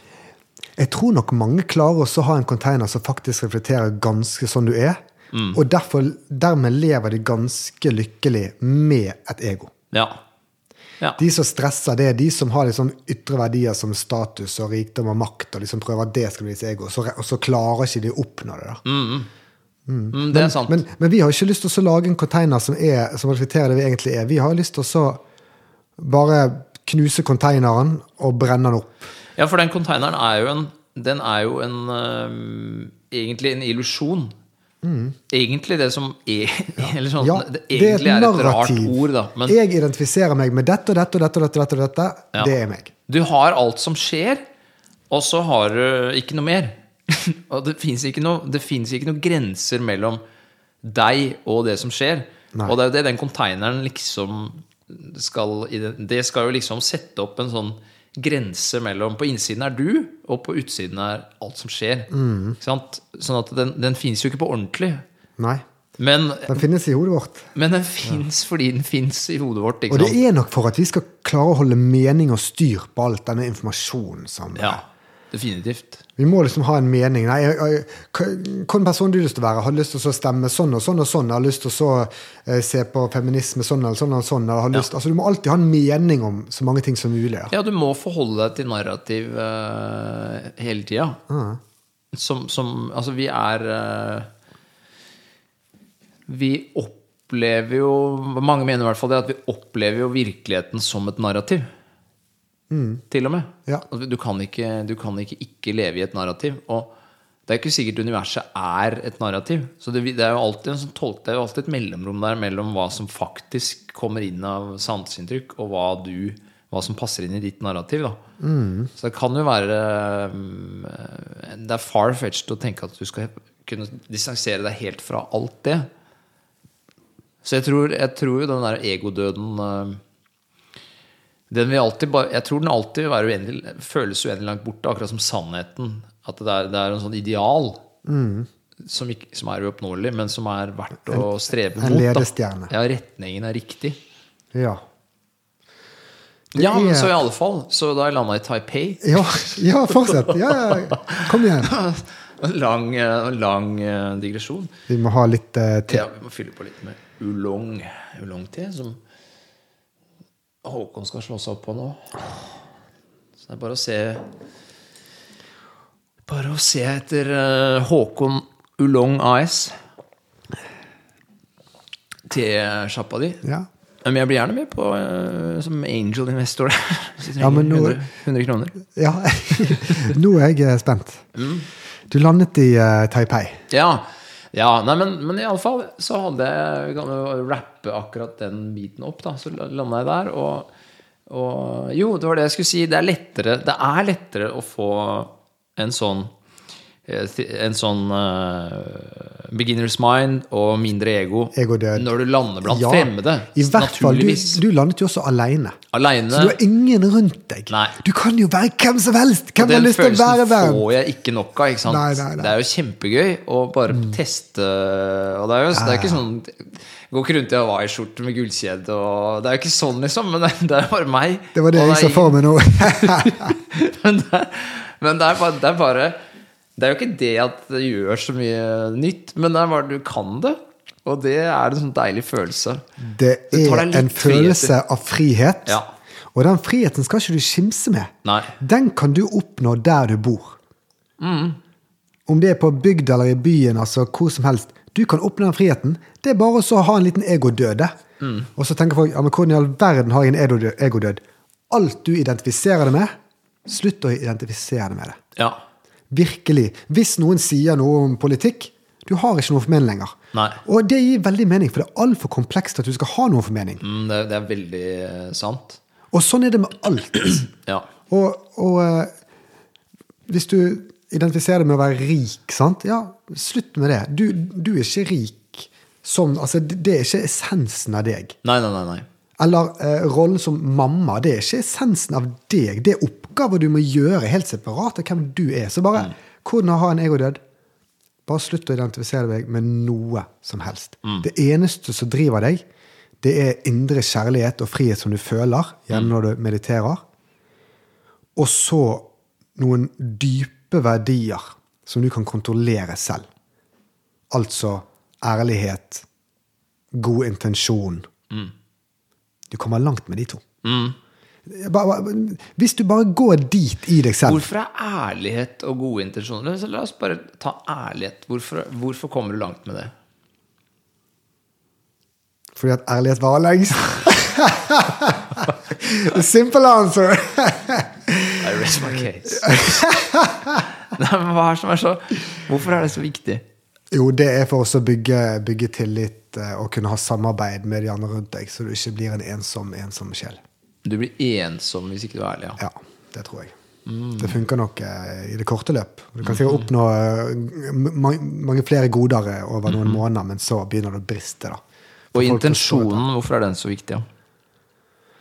[SPEAKER 1] jeg tror nok mange klarer også å ha en konteiner som faktisk reflekterer ganske sånn du er.
[SPEAKER 2] Mm.
[SPEAKER 1] Og derfor, dermed lever de ganske lykkelig med et ego.
[SPEAKER 2] Ja. ja.
[SPEAKER 1] De som stresser, det er de som har liksom ytre verdier som status og rikdom og makt, og liksom prøver at det skal bli deres ego, og så, og så klarer ikke de å oppnå det. da.
[SPEAKER 2] Mm, det er sant.
[SPEAKER 1] Men, men vi har ikke lyst til å så lage en container som, er, som reflekterer det vi egentlig er. Vi har lyst til å så bare knuse containeren og brenne den opp.
[SPEAKER 2] Ja, for den konteineren er jo en Den er jo en øhm, Egentlig en illusjon. Egentlig det som (laughs) er Eller sånn
[SPEAKER 1] Mm. Ja,
[SPEAKER 2] det, Egentlig er et rart ord, da. Men
[SPEAKER 1] jeg identifiserer meg med dette og dette og dette og dette. og dette, og dette.
[SPEAKER 2] Ja.
[SPEAKER 1] Det er meg.
[SPEAKER 2] du har alt som skjer, Og så har du ikke noe
[SPEAKER 1] (laughs)
[SPEAKER 2] mer. og det fins ikke, noe- det finnes ikke noen grenser mellom deg og det som skjer.
[SPEAKER 1] Nei.
[SPEAKER 2] Og det er jo det den konteineren liksom skal i den- Det skal jo liksom sette opp en sånn grense mellom På innsiden er du, og på utsiden er alt som skjer.
[SPEAKER 1] Mm.
[SPEAKER 2] Ikke sant? Sånn at den, den fins jo ikke på ordentlig.
[SPEAKER 1] Nei.
[SPEAKER 2] Men,
[SPEAKER 1] Den finnes i hodet vårt.
[SPEAKER 2] men den fins fordi den fins i hodet vårt. Ikke
[SPEAKER 1] Og det
[SPEAKER 2] sant?
[SPEAKER 1] er nok for at vi skal klare å holde mening og styr på alt denne informasjonen som
[SPEAKER 2] Ja, definitivt.
[SPEAKER 1] Vi må liksom ha en mening. Nei, jeg, jeg, hva- hva en person du har lyst til å være? Har lyst til å så stemme sånn og sånn og sånn? Har lyst til å så eh, se på feminisme sånn eller sånn? Eller sånn eller har lyst, altså, du må alltid ha en mening om så mange ting som mulig. Da.
[SPEAKER 2] Ja, du må forholde deg til narrativ eh, hele tida. Som, som Altså, vi er eh, Vi opplever jo Mange mener i hvert fall det at vi opplever jo virkeligheten som et narrativ. Til og med.
[SPEAKER 1] Ja.
[SPEAKER 2] Altså, Du kan, ikke, du kan ikke ikke leve i et narrativ. Og det er ikke sikkert universet er et narrativ. Så det, det er jo alltid en sånn tolk, det er jo alltid et mellomrom der mellom hva som faktisk kommer inn av sanseinntrykk, og hva, du, hva som passer inn i ditt narrativ. Da. Så det kan jo være um, Det er far-fetched å tenke at du skal kunne distansere deg helt fra alt det. Så jeg tror, jeg tror jo den der egodøden eh, den vil alltid bare, jeg tror den alltid vil være uendelig, føles uendelig langt borte, akkurat som sannheten. At det er, det er en sånn ideal som, ikke, som er uoppnåelig, men som er verdt å strebe
[SPEAKER 1] Mm. en
[SPEAKER 2] mot. da.
[SPEAKER 1] ledestjerne.
[SPEAKER 2] Ja, retningen er riktig.
[SPEAKER 1] Ja.
[SPEAKER 2] Ja,
[SPEAKER 1] er-
[SPEAKER 2] men så i alle fall. Så da jeg landa i Taipei (laughs)
[SPEAKER 1] Ja, (laughs) ja fortsett. Ja, ja, ja. Kom igjen.
[SPEAKER 2] En lang, eh, lang eh, digresjon.
[SPEAKER 1] Vi må ha litt eh, te.
[SPEAKER 2] Ja, vi må fylle på litt med oolong. Oolong-te, som Håkon skal slå seg opp på nå. Så det er bare å se Bare å se etter eh, Håkon Oolong AS. Tesjappa di.
[SPEAKER 1] Ja.
[SPEAKER 2] Men jeg blir gjerne med på eh, som angel investor. (laughs) Hvis du
[SPEAKER 1] Ja, men
[SPEAKER 2] trenger
[SPEAKER 1] nå-
[SPEAKER 2] 100, 100 kroner.
[SPEAKER 1] ja. (laughs) Nå er jeg eh, spent.
[SPEAKER 2] Mm.
[SPEAKER 1] Du landet i eh, Taipei.
[SPEAKER 2] Ja, ja nei, men, men i alle fall så hadde jeg Vi kan jo rappe akkurat den biten opp, da. Så landa jeg der, og, og Jo, det var det jeg skulle si. Det er lettere, det er lettere å få en sånn en sånn eh, beginner's mind og mindre ego
[SPEAKER 1] Egodød.
[SPEAKER 2] når du lander blant
[SPEAKER 1] Ja,
[SPEAKER 2] fremmede.
[SPEAKER 1] I hvert fall. Du,
[SPEAKER 2] naturligvis.
[SPEAKER 1] du landet jo også aleine. Så
[SPEAKER 2] Aleine.
[SPEAKER 1] du har ingen rundt deg.
[SPEAKER 2] Nei.
[SPEAKER 1] Du kan jo være hvem som helst! Hvem har
[SPEAKER 2] Den
[SPEAKER 1] lyst til å liksom være
[SPEAKER 2] følelsen
[SPEAKER 1] hvem?
[SPEAKER 2] får jeg ikke nok av. Ikke sant?
[SPEAKER 1] Nei, nei, Mm. nei.
[SPEAKER 2] Det er jo kjempegøy å bare teste. Og det er jo det er ikke sånn jeg Går ikke rundt i hawaiiskjorte med gullkjede og Det er jo ikke sånn, liksom, men (laughs) det, det er bare meg.
[SPEAKER 1] Det var det
[SPEAKER 2] og
[SPEAKER 1] jeg så for meg
[SPEAKER 2] (laughs)
[SPEAKER 1] nå.
[SPEAKER 2] men det, er- men det, er bare, det er bare Det er jo ikke det at det gjør så mye nytt, men det er bare du kan det. Og det er en sånn deilig følelse.
[SPEAKER 1] Det
[SPEAKER 2] Det tar
[SPEAKER 1] er
[SPEAKER 2] deg litt
[SPEAKER 1] en følelse
[SPEAKER 2] friheter.
[SPEAKER 1] av frihet.
[SPEAKER 2] Ja.
[SPEAKER 1] Og den friheten skal ikke du skimse med.
[SPEAKER 2] Nei.
[SPEAKER 1] Den kan du oppnå der du bor.
[SPEAKER 2] Mm.
[SPEAKER 1] Om det er på bygda eller i byen, altså hvor som helst. Du kan oppnå den friheten. Det er bare å ha en liten egodøde.
[SPEAKER 2] Mm.
[SPEAKER 1] Og så tenker folk ja, men hvordan i all verden har jeg en egodød- egodød? Alt du identifiserer deg med, slutt å identifisere deg med det.
[SPEAKER 2] Ja.
[SPEAKER 1] Virkelig. Hvis noen sier noe om politikk, du har ikke noe for mening lenger.
[SPEAKER 2] Nei.
[SPEAKER 1] Og det gir veldig mening, for det er altfor komplekst at du skal ha noe for mening.
[SPEAKER 2] Mm, det, er- det er veldig eh, sant.
[SPEAKER 1] Og sånn er det med alt.
[SPEAKER 2] Ja.
[SPEAKER 1] Og, og eh, hvis du identifiserer deg med å være rik, sant? ja, slutt med det. Du, du er ikke rik som Altså, det det er ikke essensen av deg.
[SPEAKER 2] Nei, nei, nei. nei.
[SPEAKER 1] Eller eh, rollen som mamma. Det er ikke essensen av deg. Det er oppgaver du må gjøre helt separat av hvem du er. Så bare hvordan å ha en egodød? Bare slutt å identifisere deg med noe som helst. Det eneste som driver deg, det er indre kjærlighet og frihet som du føler, gjerne når du mediterer. Og så noen dype verdier som du kan kontrollere selv. Altså ærlighet, god intensjon. Du kommer langt med de to. Bare- bare- Hvis du bare går dit i deg selv
[SPEAKER 2] Hvorfor er ærlighet og gode intensjoner Så La oss bare ta ærlighet. Hvorfor, hvorfor kommer du langt med det?
[SPEAKER 1] Fordi at ærlighet varer lengst. (laughs) The simple answer.
[SPEAKER 2] I rest my
[SPEAKER 1] (laughs)
[SPEAKER 2] case. Nei, men hva er det som er så Hvorfor er det så viktig?
[SPEAKER 1] Jo, det er for oss å bygge, bygge tillit eh, og kunne ha samarbeid med de andre rundt deg, så du ikke blir en ensom, ensom sjel.
[SPEAKER 2] Du blir ensom hvis ikke du er ærlig. Ja.
[SPEAKER 1] Ja, det tror jeg. Det funker nok eh, i det korte løp. Du kan sikkert oppnå eh, ma mange flere goder eh, over noen måneder, men så begynner det å briste. da. For folk
[SPEAKER 2] Og
[SPEAKER 1] forstår det.
[SPEAKER 2] intensjonen, hvorfor er den så viktig? Ja?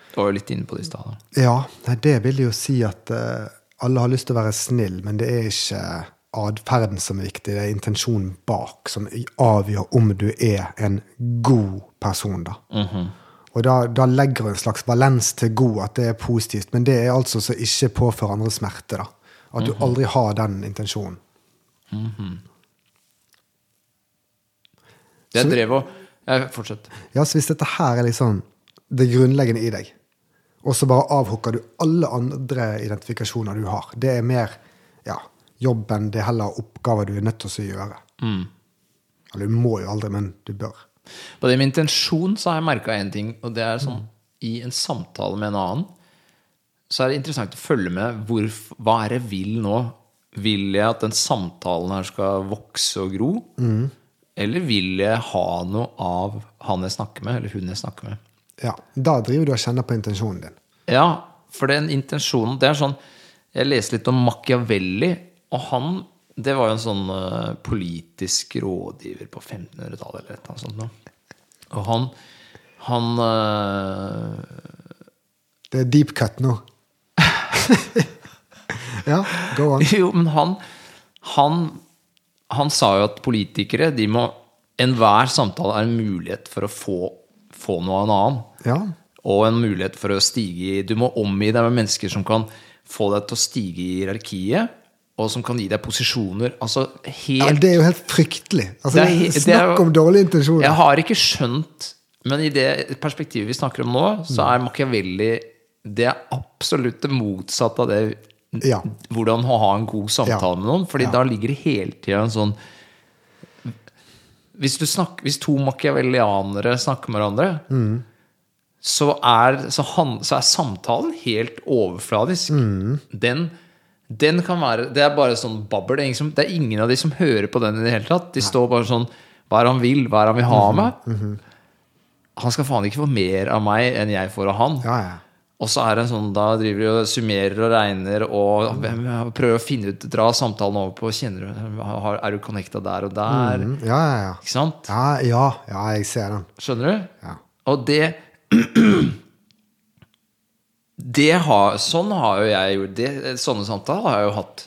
[SPEAKER 2] Du var jo litt inne på det i stad. da.
[SPEAKER 1] Ja, nei, det vil jo si at eh, alle har lyst til å være snill, men det er ikke atferden som er viktig, det er intensjonen bak som i- avgjør om du er en god person, da. Og da, da legger du en slags balans til god, at det er positivt, men det er altså så ikke påfører andre smerte, da. At du aldri har den intensjonen.
[SPEAKER 2] Jeg drev og jeg, Fortsett.
[SPEAKER 1] Ja, så hvis dette her er liksom det grunnleggende i deg, og så bare avhooker du alle andre identifikasjoner du har, det er mer ja, jobben, det er heller oppgaver du er nødt til å gjøre.
[SPEAKER 2] Mm.
[SPEAKER 1] Eller du må jo aldri, men du bør.
[SPEAKER 2] På det med intensjon så har jeg merka én ting, og det er sånn i en samtale med en annen så er det interessant å følge med. Hvor, hva er det jeg vil nå? Vil jeg at den samtalen her skal vokse og gro? Eller vil jeg ha noe av han jeg snakker med, eller hun jeg snakker med?
[SPEAKER 1] Ja, Da driver du og kjenner på intensjonen din.
[SPEAKER 2] Ja, for den intensjonen Det er sånn Jeg leste litt om Machiavelli, og han Det var jo en sånn eh, politisk rådgiver på 1500-tallet eller et eller annet sånt. noe. Og han Han eh, (laughs)
[SPEAKER 1] Det er deep cut nå. (laughs) ja, go on.
[SPEAKER 2] Jo, men han Han, han sa jo at politikere, de må Enhver samtale er en mulighet for å få, få noe av en annen.
[SPEAKER 1] Ja,
[SPEAKER 2] og en mulighet for å stige i Du må omgi deg med mennesker som kan få deg til å stige i hierarkiet, og som kan gi deg posisjoner. Altså
[SPEAKER 1] ja
[SPEAKER 2] helt
[SPEAKER 1] Det er jo helt fryktelig. Altså,
[SPEAKER 2] Det er he- det er-
[SPEAKER 1] snakk om dårlige intensjoner.
[SPEAKER 2] Jeg har ikke skjønt Men i det perspektivet vi snakker om nå, så er Machiavelli det er absolutt det motsatte av det
[SPEAKER 1] Ja.
[SPEAKER 2] Hvordan å ha en god
[SPEAKER 1] Ja.
[SPEAKER 2] samtale med noen. Fordi
[SPEAKER 1] Ja.
[SPEAKER 2] da ligger det hele tida en sånn hvis, du snakker, hvis to machiavellianere snakker med hverandre, så, er, så, han, så er samtalen helt overfladisk.
[SPEAKER 1] Mm.
[SPEAKER 2] Den, den kan være Det er bare sånn babbel. Det er, ingen som, det er ingen av de som hører på den i det hele tatt. De står bare sånn Hva er det han vil? Hva er det han vil ha
[SPEAKER 1] Mhm,
[SPEAKER 2] av meg? Han skal faen ikke få mer av meg enn jeg får av han.
[SPEAKER 1] Ja, ja.
[SPEAKER 2] Og så er det en sånn, da driver de og summerer og regner og hvem- prøver å finne ut Dra samtalen over på Kjenner du har- Er du connecta der og der?
[SPEAKER 1] Mm, ja, ja, ja.
[SPEAKER 2] Ikke sant?
[SPEAKER 1] Ja, ja, ja, jeg ser den.
[SPEAKER 2] Skjønner du?
[SPEAKER 1] Ja.
[SPEAKER 2] Og det (clears throat) Det har Sånn har jo jeg gjort det, Sånne samtaler har jeg jo hatt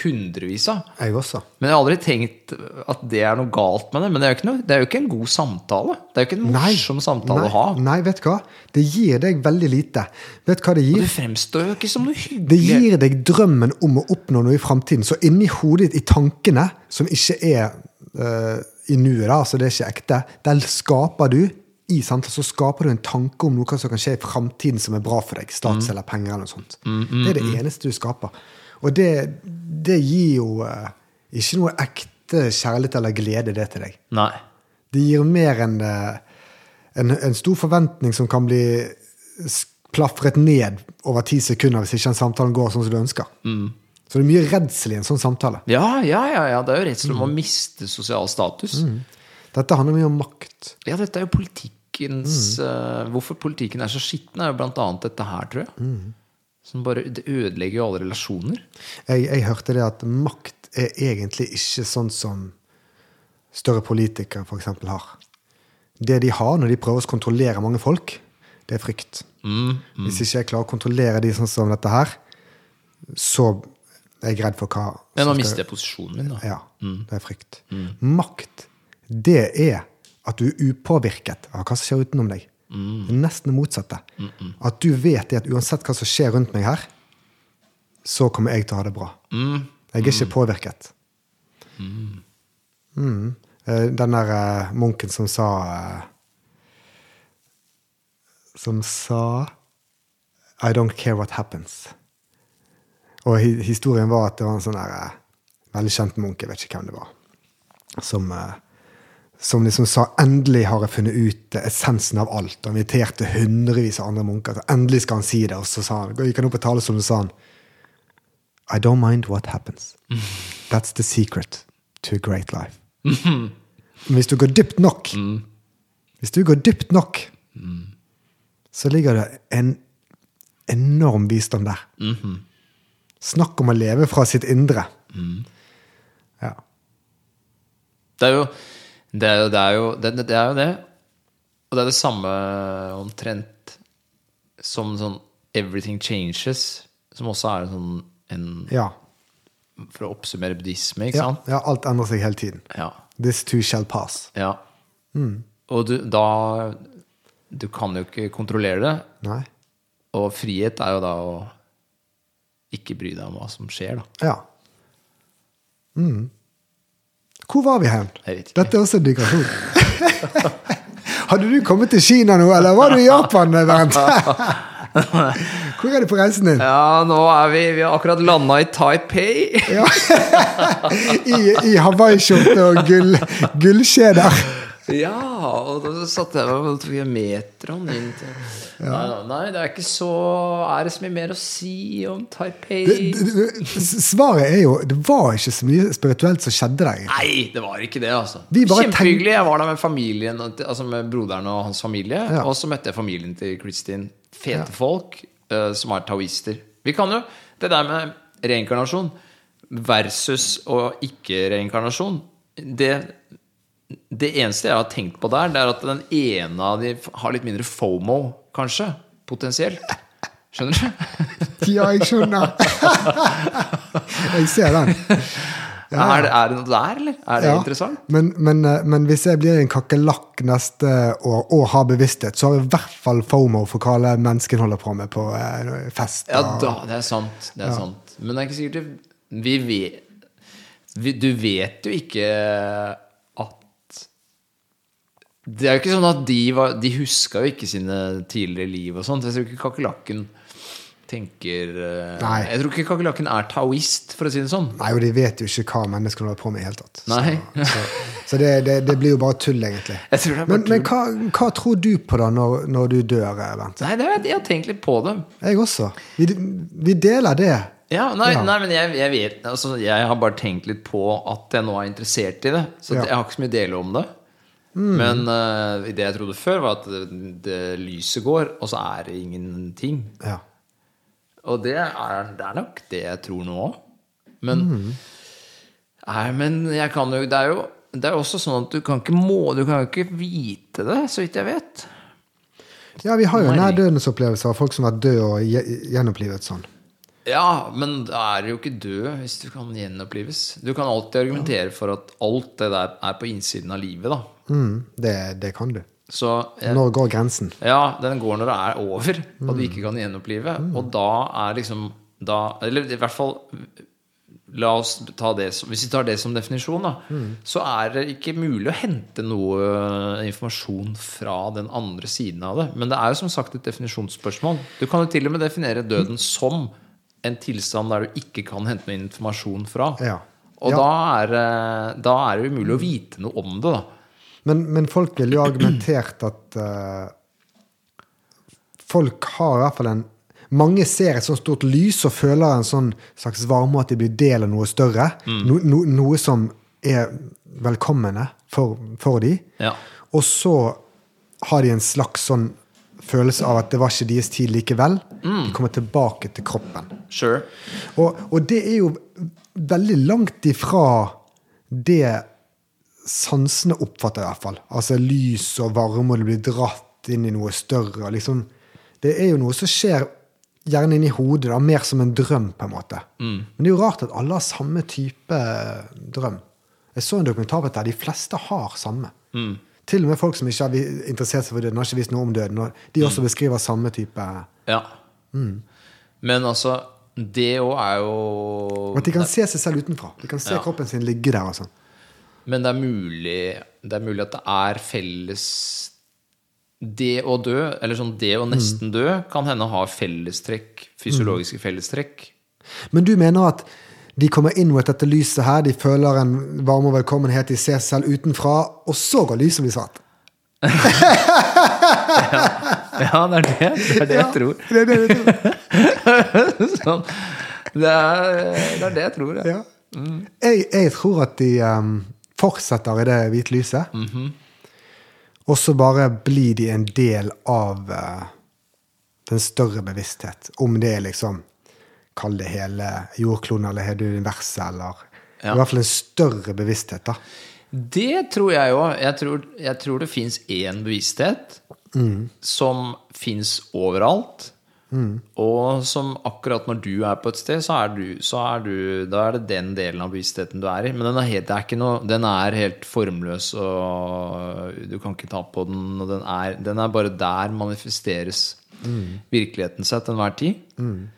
[SPEAKER 2] hundrevis av.
[SPEAKER 1] Jeg også.
[SPEAKER 2] Men jeg har aldri tenkt at det er noe galt med det. Men det er jo ikke, noe, det er jo ikke en god samtale. Det er jo ikke en morsom samtale
[SPEAKER 1] nei,
[SPEAKER 2] å ha.
[SPEAKER 1] Nei, vet du hva? Det gir deg veldig lite. Vet du hva det
[SPEAKER 2] Du
[SPEAKER 1] gir?
[SPEAKER 2] fremstår jo ikke som noe hyggelig.
[SPEAKER 1] Det gir deg drømmen om å oppnå noe i framtiden. Så inni hodet ditt, i tankene, som ikke er eh, i nuet, da, altså det er ikke ekte, der skaper du i samtalen så skaper du en tanke om noe som kan skje i framtiden som er bra for deg. Stats
[SPEAKER 2] Mm.
[SPEAKER 1] eller penger eller noe sånt. det er det eneste du skaper. Og det, det gir jo eh, ikke noe ekte kjærlighet eller glede, det til deg.
[SPEAKER 2] Nei.
[SPEAKER 1] Det gir mer en, eh, en, en stor forventning som kan bli s- plafret ned over ti sekunder hvis ikke en samtale går sånn som du ønsker. Så det er mye redsel i en sånn samtale.
[SPEAKER 2] Ja, ja, ja, ja. Det er jo redsel om å miste sosial status.
[SPEAKER 1] Dette handler mye om makt.
[SPEAKER 2] Ja, dette er jo politikkens eh, Hvorfor politikken er så skitten, er jo blant annet dette her, tror jeg. Som bare, det ødelegger jo alle relasjoner.
[SPEAKER 1] Jeg, jeg hørte det at makt er egentlig ikke sånn som større politikere for eksempel har. Det de har når de prøver å kontrollere mange folk, det er frykt. Hvis ikke jeg klarer å kontrollere de sånn som dette her, så er jeg redd for hva
[SPEAKER 2] Men nå
[SPEAKER 1] som skal-
[SPEAKER 2] mister jeg posisjonen min, da.
[SPEAKER 1] Ja, det er frykt. Makt, det er at du er upåvirket av hva som skjer utenom deg. Det er nesten det motsatte. At du vet det at uansett hva som skjer rundt meg her, så kommer jeg til å ha det bra. Jeg er ikke påvirket. Mm. Eh, Den der eh, munken som sa eh, Som sa I don't care what happens. Og hi- historien var at det var en sånn der, eh, veldig kjent munk, jeg vet ikke hvem det var, som, eh, som liksom sa endelig har jeg funnet ut eh, essensen av alt. Og inviterte hundrevis av andre munker. Så endelig skal han si det. Og så sa han, gikk han opp på talerstolen og sa han I don't mind what happens. That's the secret to a great life. Men hvis du går dypt nok, hvis du går dypt nok, så ligger det en enorm visdom der. Snakk om å leve fra sitt indre.
[SPEAKER 2] Mm.
[SPEAKER 1] Ja.
[SPEAKER 2] Det er jo det, er jo, det, er jo, det, det, er jo det. Og det er det samme omtrent som sånn Everything Changes, som også er en sånn en,
[SPEAKER 1] Ja.
[SPEAKER 2] For å oppsummere buddhisme, ikke
[SPEAKER 1] ja.
[SPEAKER 2] sant?
[SPEAKER 1] ja. Alt endrer seg hele tiden.
[SPEAKER 2] Ja.
[SPEAKER 1] This too shall pass.
[SPEAKER 2] ja.
[SPEAKER 1] Mm.
[SPEAKER 2] Og du, da Du kan jo ikke kontrollere det.
[SPEAKER 1] Nei.
[SPEAKER 2] Og frihet er jo da å ikke bry deg om hva som skjer, da.
[SPEAKER 1] Ja. Mm. Hvor var vi hen?
[SPEAKER 2] Jeg vet ikke.
[SPEAKER 1] Dette er også en digresjon. (laughs) Hadde du kommet til Kina nå, eller var du i Japan?
[SPEAKER 2] (laughs)
[SPEAKER 1] Bernt? Hvor er du på reisen din?
[SPEAKER 2] Ja, nå er vi Vi har akkurat landa i Taipei. (laughs)
[SPEAKER 1] Ja. I, i hawaiiskjorte og gull, gullkjeder.
[SPEAKER 2] Ja, og da satte jeg meg på to metron inn til nei, da, nei, det er ikke så Er det så mye mer å si om Taipei?
[SPEAKER 1] Du- du- du- Svaret er jo det var ikke så mye spirituelt som skjedde der. egentlig.
[SPEAKER 2] Nei, det var ikke det, altså.
[SPEAKER 1] Vi bare
[SPEAKER 2] Kjempehyggelig. Jeg var der med familien Altså med broderen og hans familie.
[SPEAKER 1] Ja.
[SPEAKER 2] Og så møtte jeg familien til Kristin. Fete folk eh, som er taoister. Vi kan jo det der med reinkarnasjon versus og ikke-reinkarnasjon. Det, det eneste jeg har tenkt på der, det er at den ene av de har litt mindre fomo, kanskje. Potensielt. Skjønner du?
[SPEAKER 1] Ja, jeg
[SPEAKER 2] (laughs)
[SPEAKER 1] skjønner. Jeg ser den.
[SPEAKER 2] Er, det, er det noe der, eller? Er det
[SPEAKER 1] Ja,
[SPEAKER 2] interessant?
[SPEAKER 1] Men, men, eh, men hvis jeg blir en kakerlakk neste år og har bevissthet, så har jeg i hvert fall fomo for hva alle menneskene holder på med på eh, fest.
[SPEAKER 2] Ja,
[SPEAKER 1] og-
[SPEAKER 2] da, det er sant. Det er sant. Men det er ikke sikkert det Vi vet vi, Du vet jo ikke at Det er jo ikke sånn at de var De huska jo ikke sine tidligere liv og sånt. Jeg tror ikke kakerlakken tenker eh,
[SPEAKER 1] Nei.
[SPEAKER 2] Jeg tror ikke kakerlakken er taoist, for å si det sånn.
[SPEAKER 1] Nei, og de vet jo ikke hva menneskene holder på med i hele tatt.
[SPEAKER 2] Nei.
[SPEAKER 1] Så, så, så det, det, det blir jo bare tull, egentlig.
[SPEAKER 2] (laughs) Jeg tror det er bare
[SPEAKER 1] Men, men hva, hva tror du på da når, når du dør, eh, Bent?
[SPEAKER 2] Nei, det er, jeg har tenkt litt på det.
[SPEAKER 1] Jeg også. Vi, vi deler det.
[SPEAKER 2] Ja, nei,
[SPEAKER 1] Ja.
[SPEAKER 2] nei men jeg, jeg vet altså, Jeg har bare tenkt litt på at jeg nå er interessert i det. Så
[SPEAKER 1] Ja. Mm.
[SPEAKER 2] jeg har ikke så mye å dele om det. Men eh, det jeg trodde før, var at det, det lyset går, og så er det ingenting.
[SPEAKER 1] Ja.
[SPEAKER 2] Og det er, det er nok det jeg tror nå òg. Men,
[SPEAKER 1] Mm.
[SPEAKER 2] nei, men jeg kan jo, det, er jo, det er jo også sånn at du kan ikke må Du kan jo ikke vite det, så vidt jeg vet.
[SPEAKER 1] ja, vi har jo
[SPEAKER 2] Nei.
[SPEAKER 1] nærdødens-opplevelser av folk som har vært døde og gje- gjenopplivet sånn.
[SPEAKER 2] Ja, men da er du jo ikke død hvis du kan gjenopplives. Du kan alltid argumentere for at alt det der er på innsiden av livet, da.
[SPEAKER 1] Mm, det, det kan du.
[SPEAKER 2] Så eh,
[SPEAKER 1] Når går grensen?
[SPEAKER 2] ja, den går når det er over, og du ikke kan gjenopplive.
[SPEAKER 1] Mm.
[SPEAKER 2] Og da er liksom da, Eller i hvert fall La oss ta det som, Hvis vi tar det som definisjon, da,
[SPEAKER 1] Mm.
[SPEAKER 2] så er det ikke mulig å hente noe eh, informasjon fra den andre siden av det. Men det er jo som sagt et definisjonsspørsmål. Du kan jo til og med definere
[SPEAKER 1] Mm.
[SPEAKER 2] døden som en tilstand der du ikke kan hente noe informasjon fra.
[SPEAKER 1] Ja.
[SPEAKER 2] Og
[SPEAKER 1] Ja.
[SPEAKER 2] Da, er, det- da er det umulig å vite noe om det, da.
[SPEAKER 1] Men, men folk ville jo argumentert at eh, Folk har i hvert fall en Mange ser et sånt stort lys og føler en sånn slags varme og at de blir del av noe større. No, no, noe som er velkommende for, for de.
[SPEAKER 2] Ja.
[SPEAKER 1] Og så har de en slags sånn følelse av at det var ikke deres tid likevel. De kommer tilbake til kroppen.
[SPEAKER 2] Sure.
[SPEAKER 1] Og, og det er jo veldig langt ifra det sansene oppfatter, i hvert fall. Altså lys og varme, og du blir dratt inn i noe større. og Liksom. Det er jo noe som skjer gjerne inni hodet, da, mer som en drøm, på en måte. Men det er jo rart at alle har samme type drøm. Jeg så en dokumentar på dette. De fleste har samme. Til og med folk som ikke har vi- interessert seg for døden, har ikke visst noe om døden. og De også beskriver samme type
[SPEAKER 2] Ja. Mm. Men altså, det òg er jo
[SPEAKER 1] At de kan se seg selv utenfra. De kan se kroppen sin ligge der. og sånn.
[SPEAKER 2] Men det er mulig Det er mulig at det er felles Det å dø, eller sånn det å nesten dø, kan hende ha fellestrekk. Fysiologiske fellestrekk.
[SPEAKER 1] Men du mener at de kommer inn mot dette lyset her, de føler en varme og velkommenhet, de ser seg selv utenfra, og så går lyset og blir svart.
[SPEAKER 2] Ja, det er det, det, er (laughs) det jeg tror.
[SPEAKER 1] (laughs) Det, er det, du tror.
[SPEAKER 2] sånn. det, er, det er det jeg tror, ja.
[SPEAKER 1] ja.
[SPEAKER 2] Mm.
[SPEAKER 1] jeg, jeg tror at de em, fortsetter i det hvite lyset,
[SPEAKER 2] Mhm.
[SPEAKER 1] og så bare blir de en del av eh, den større bevissthet, om det er liksom kall det hele jordkloden eller hele universet, eller
[SPEAKER 2] Ja.
[SPEAKER 1] i hvert fall en større bevissthet. da.
[SPEAKER 2] Det tror jeg òg. Jeg, tror- jeg tror det fins én bevissthet som fins overalt. Og som akkurat når du er på et sted, så er du, så er du Da er det den delen av bevisstheten du er i. Men den er, helt, det er ikke noe, den er helt formløs, og du kan ikke ta på den. Og den er, den er bare der manifesteres virkeligheten seg til enhver tid.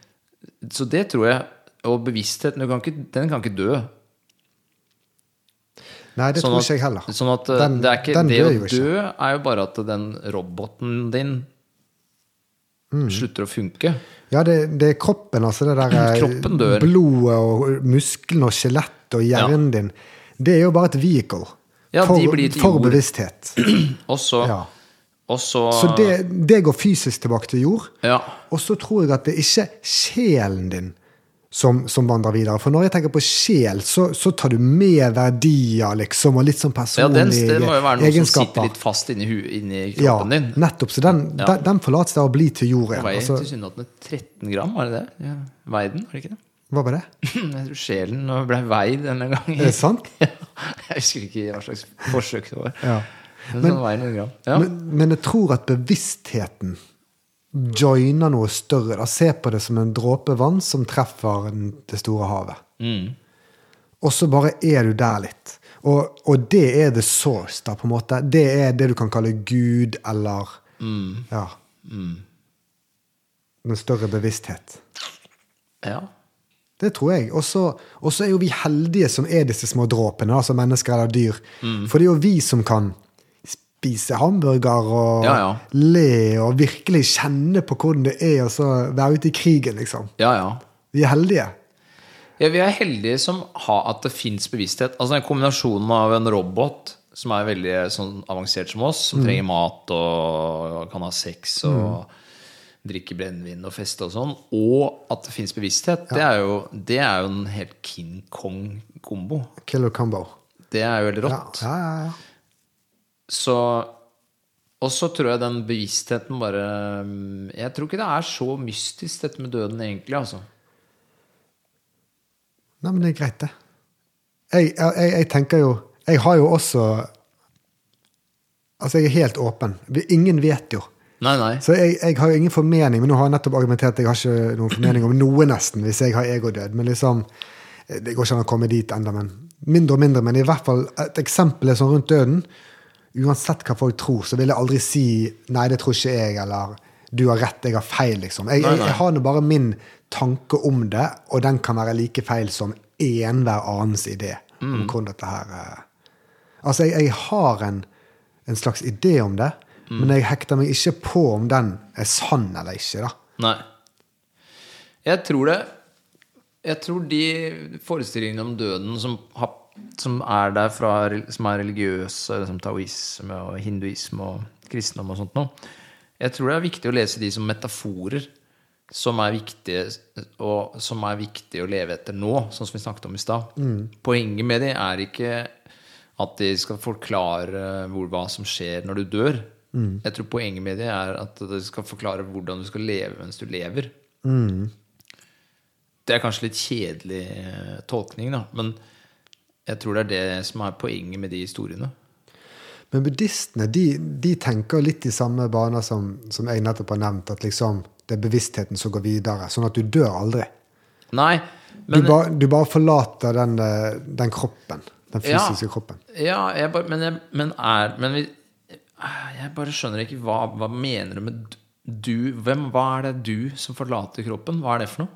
[SPEAKER 2] Så det tror jeg. Og bevisstheten, du kan ikke, den kan ikke dø.
[SPEAKER 1] Nei, det
[SPEAKER 2] Sånn
[SPEAKER 1] tror
[SPEAKER 2] at-
[SPEAKER 1] ikke jeg heller.
[SPEAKER 2] Sånn at eh,
[SPEAKER 1] Den-
[SPEAKER 2] det, er ikke,
[SPEAKER 1] den
[SPEAKER 2] det
[SPEAKER 1] dør
[SPEAKER 2] å
[SPEAKER 1] jo ikke.
[SPEAKER 2] dø er jo bare at den roboten din
[SPEAKER 1] Mm.
[SPEAKER 2] slutter å funke.
[SPEAKER 1] Ja, det, det er kroppen, altså. Det der eh,
[SPEAKER 2] Kroppen dør.
[SPEAKER 1] blodet og musklene og skjelettet og hjernen din. Det er jo bare et vehicle
[SPEAKER 2] Ja, de
[SPEAKER 1] for,
[SPEAKER 2] blir til
[SPEAKER 1] for
[SPEAKER 2] jord.
[SPEAKER 1] bevissthet.
[SPEAKER 2] Og så,
[SPEAKER 1] Ja.
[SPEAKER 2] og så,
[SPEAKER 1] Så det, det går fysisk tilbake til jord.
[SPEAKER 2] Ja.
[SPEAKER 1] Og så tror jeg at det er ikke sjelen din som, som vandrer videre. For når jeg tenker på sjel, så, så tar du med verdier, liksom, og litt sånn
[SPEAKER 2] ja,
[SPEAKER 1] personlige
[SPEAKER 2] den, det må jo være noe som sitter
[SPEAKER 1] egenskaper.
[SPEAKER 2] litt fast inni, hu, inni
[SPEAKER 1] ja,
[SPEAKER 2] kroppen din.
[SPEAKER 1] nettopp. Så den,
[SPEAKER 2] Ja.
[SPEAKER 1] den, den forlates der og blir til jord
[SPEAKER 2] Den
[SPEAKER 1] igjen.
[SPEAKER 2] veier
[SPEAKER 1] Altså,
[SPEAKER 2] tilsynelatende 13 gram, var det det? Ja. Veiden, var det (laughs) ikke det?
[SPEAKER 1] hva var det?
[SPEAKER 2] Jeg tror sjelen ble veid denne gangen.
[SPEAKER 1] Er det sant?
[SPEAKER 2] (laughs) Ja. Jeg husker ikke hva slags forsøk det var.
[SPEAKER 1] Ja.
[SPEAKER 2] Men, den veier noen gram. Ja.
[SPEAKER 1] Men, men jeg tror at bevisstheten joiner noe større. Da. Se på det som en dråpe vann som treffer en- det store havet. Og så bare er du der litt. Og, og det er the source, da, på en måte. Det er det du kan kalle Gud, eller Ja. En større bevissthet.
[SPEAKER 2] ja.
[SPEAKER 1] Det tror jeg. Og så og så er jo vi heldige som er disse små dråpene, altså mennesker eller dyr.
[SPEAKER 2] Mm.
[SPEAKER 1] For det er jo vi som kan spise hamburger og
[SPEAKER 2] Ja, ja.
[SPEAKER 1] le og virkelig kjenne på hvordan det er å så være ute i krigen, liksom.
[SPEAKER 2] ja, ja.
[SPEAKER 1] Vi er heldige.
[SPEAKER 2] Ja, vi er heldige som har at det fins bevissthet. Altså den kombinasjonen av en robot som er veldig sånn avansert som oss,
[SPEAKER 1] Mm.
[SPEAKER 2] som trenger mat og kan ha sex og
[SPEAKER 1] Mm.
[SPEAKER 2] drikke brennevin og feste og sånn, og at det fins bevissthet, det, er jo, det er jo en helt King Kong-kombo.
[SPEAKER 1] Killer combo.
[SPEAKER 2] Det er jo
[SPEAKER 1] Ja,
[SPEAKER 2] veldig rått.
[SPEAKER 1] ja, ja, ja.
[SPEAKER 2] Så Og så tror jeg den bevisstheten bare Jeg tror ikke det er så mystisk, dette med døden, egentlig, altså.
[SPEAKER 1] Nei, men det er greit, det. Jeg, jeg, jeg- jeg tenker jo Jeg har jo også Altså, jeg er helt åpen. Vi- Ingen vet jo.
[SPEAKER 2] Nei, nei.
[SPEAKER 1] Så jeg, jeg har jo ingen formening, men nå har jeg nettopp argumentert at jeg har ikke noen formening om noe, nesten, hvis jeg har egodød. Men liksom, Det går ikke an å komme dit ennå, men mindre og mindre. Men i hvert fall et eksempel er sånn rundt døden. Uansett hva folk tror, så vil jeg aldri si 'nei, det tror ikke jeg', eller 'du har rett, jeg har feil', liksom. Jeg, jeg, jeg har nå bare min tanke om det, og den kan være like feil som enhver annens idé
[SPEAKER 2] Mm.
[SPEAKER 1] om hvordan dette her eh, Altså, jeg, jeg har en, en slags idé om det,
[SPEAKER 2] Mm.
[SPEAKER 1] men jeg hekter meg ikke på om den er sann eller ikke. da.
[SPEAKER 2] Nei. Jeg tror det Jeg tror de forestillingene om døden som, har, som er der fra Som er religiøse, eller som taoisme og hinduisme og kristendom og sånt noe Jeg tror det er viktig å lese de som metaforer som er viktige og som er viktig å leve etter nå, sånn som vi snakket om i stad. Poenget med de er ikke at de skal forklare hvor, hva som skjer når du dør. Jeg tror poenget med de er at de skal forklare hvordan du skal leve mens du lever. Det er kanskje litt kjedelig eh, tolkning, da, men jeg tror det er det som er poenget med de historiene.
[SPEAKER 1] Men buddhistene de, de tenker litt i samme baner som, som jeg nettopp har nevnt, at liksom, det er bevisstheten som går videre, sånn at du dør aldri.
[SPEAKER 2] Nei,
[SPEAKER 1] du,
[SPEAKER 2] men
[SPEAKER 1] ba, du bare forlater den, eh, den kroppen. Den
[SPEAKER 2] Ja.
[SPEAKER 1] fysiske kroppen.
[SPEAKER 2] Ja, jeg bare, men, jeg, men er Men vi, Ah, jeg bare skjønner ikke hva, hva mener du med du? Hvem, hva er det du som forlater kroppen? Hva er det for noe?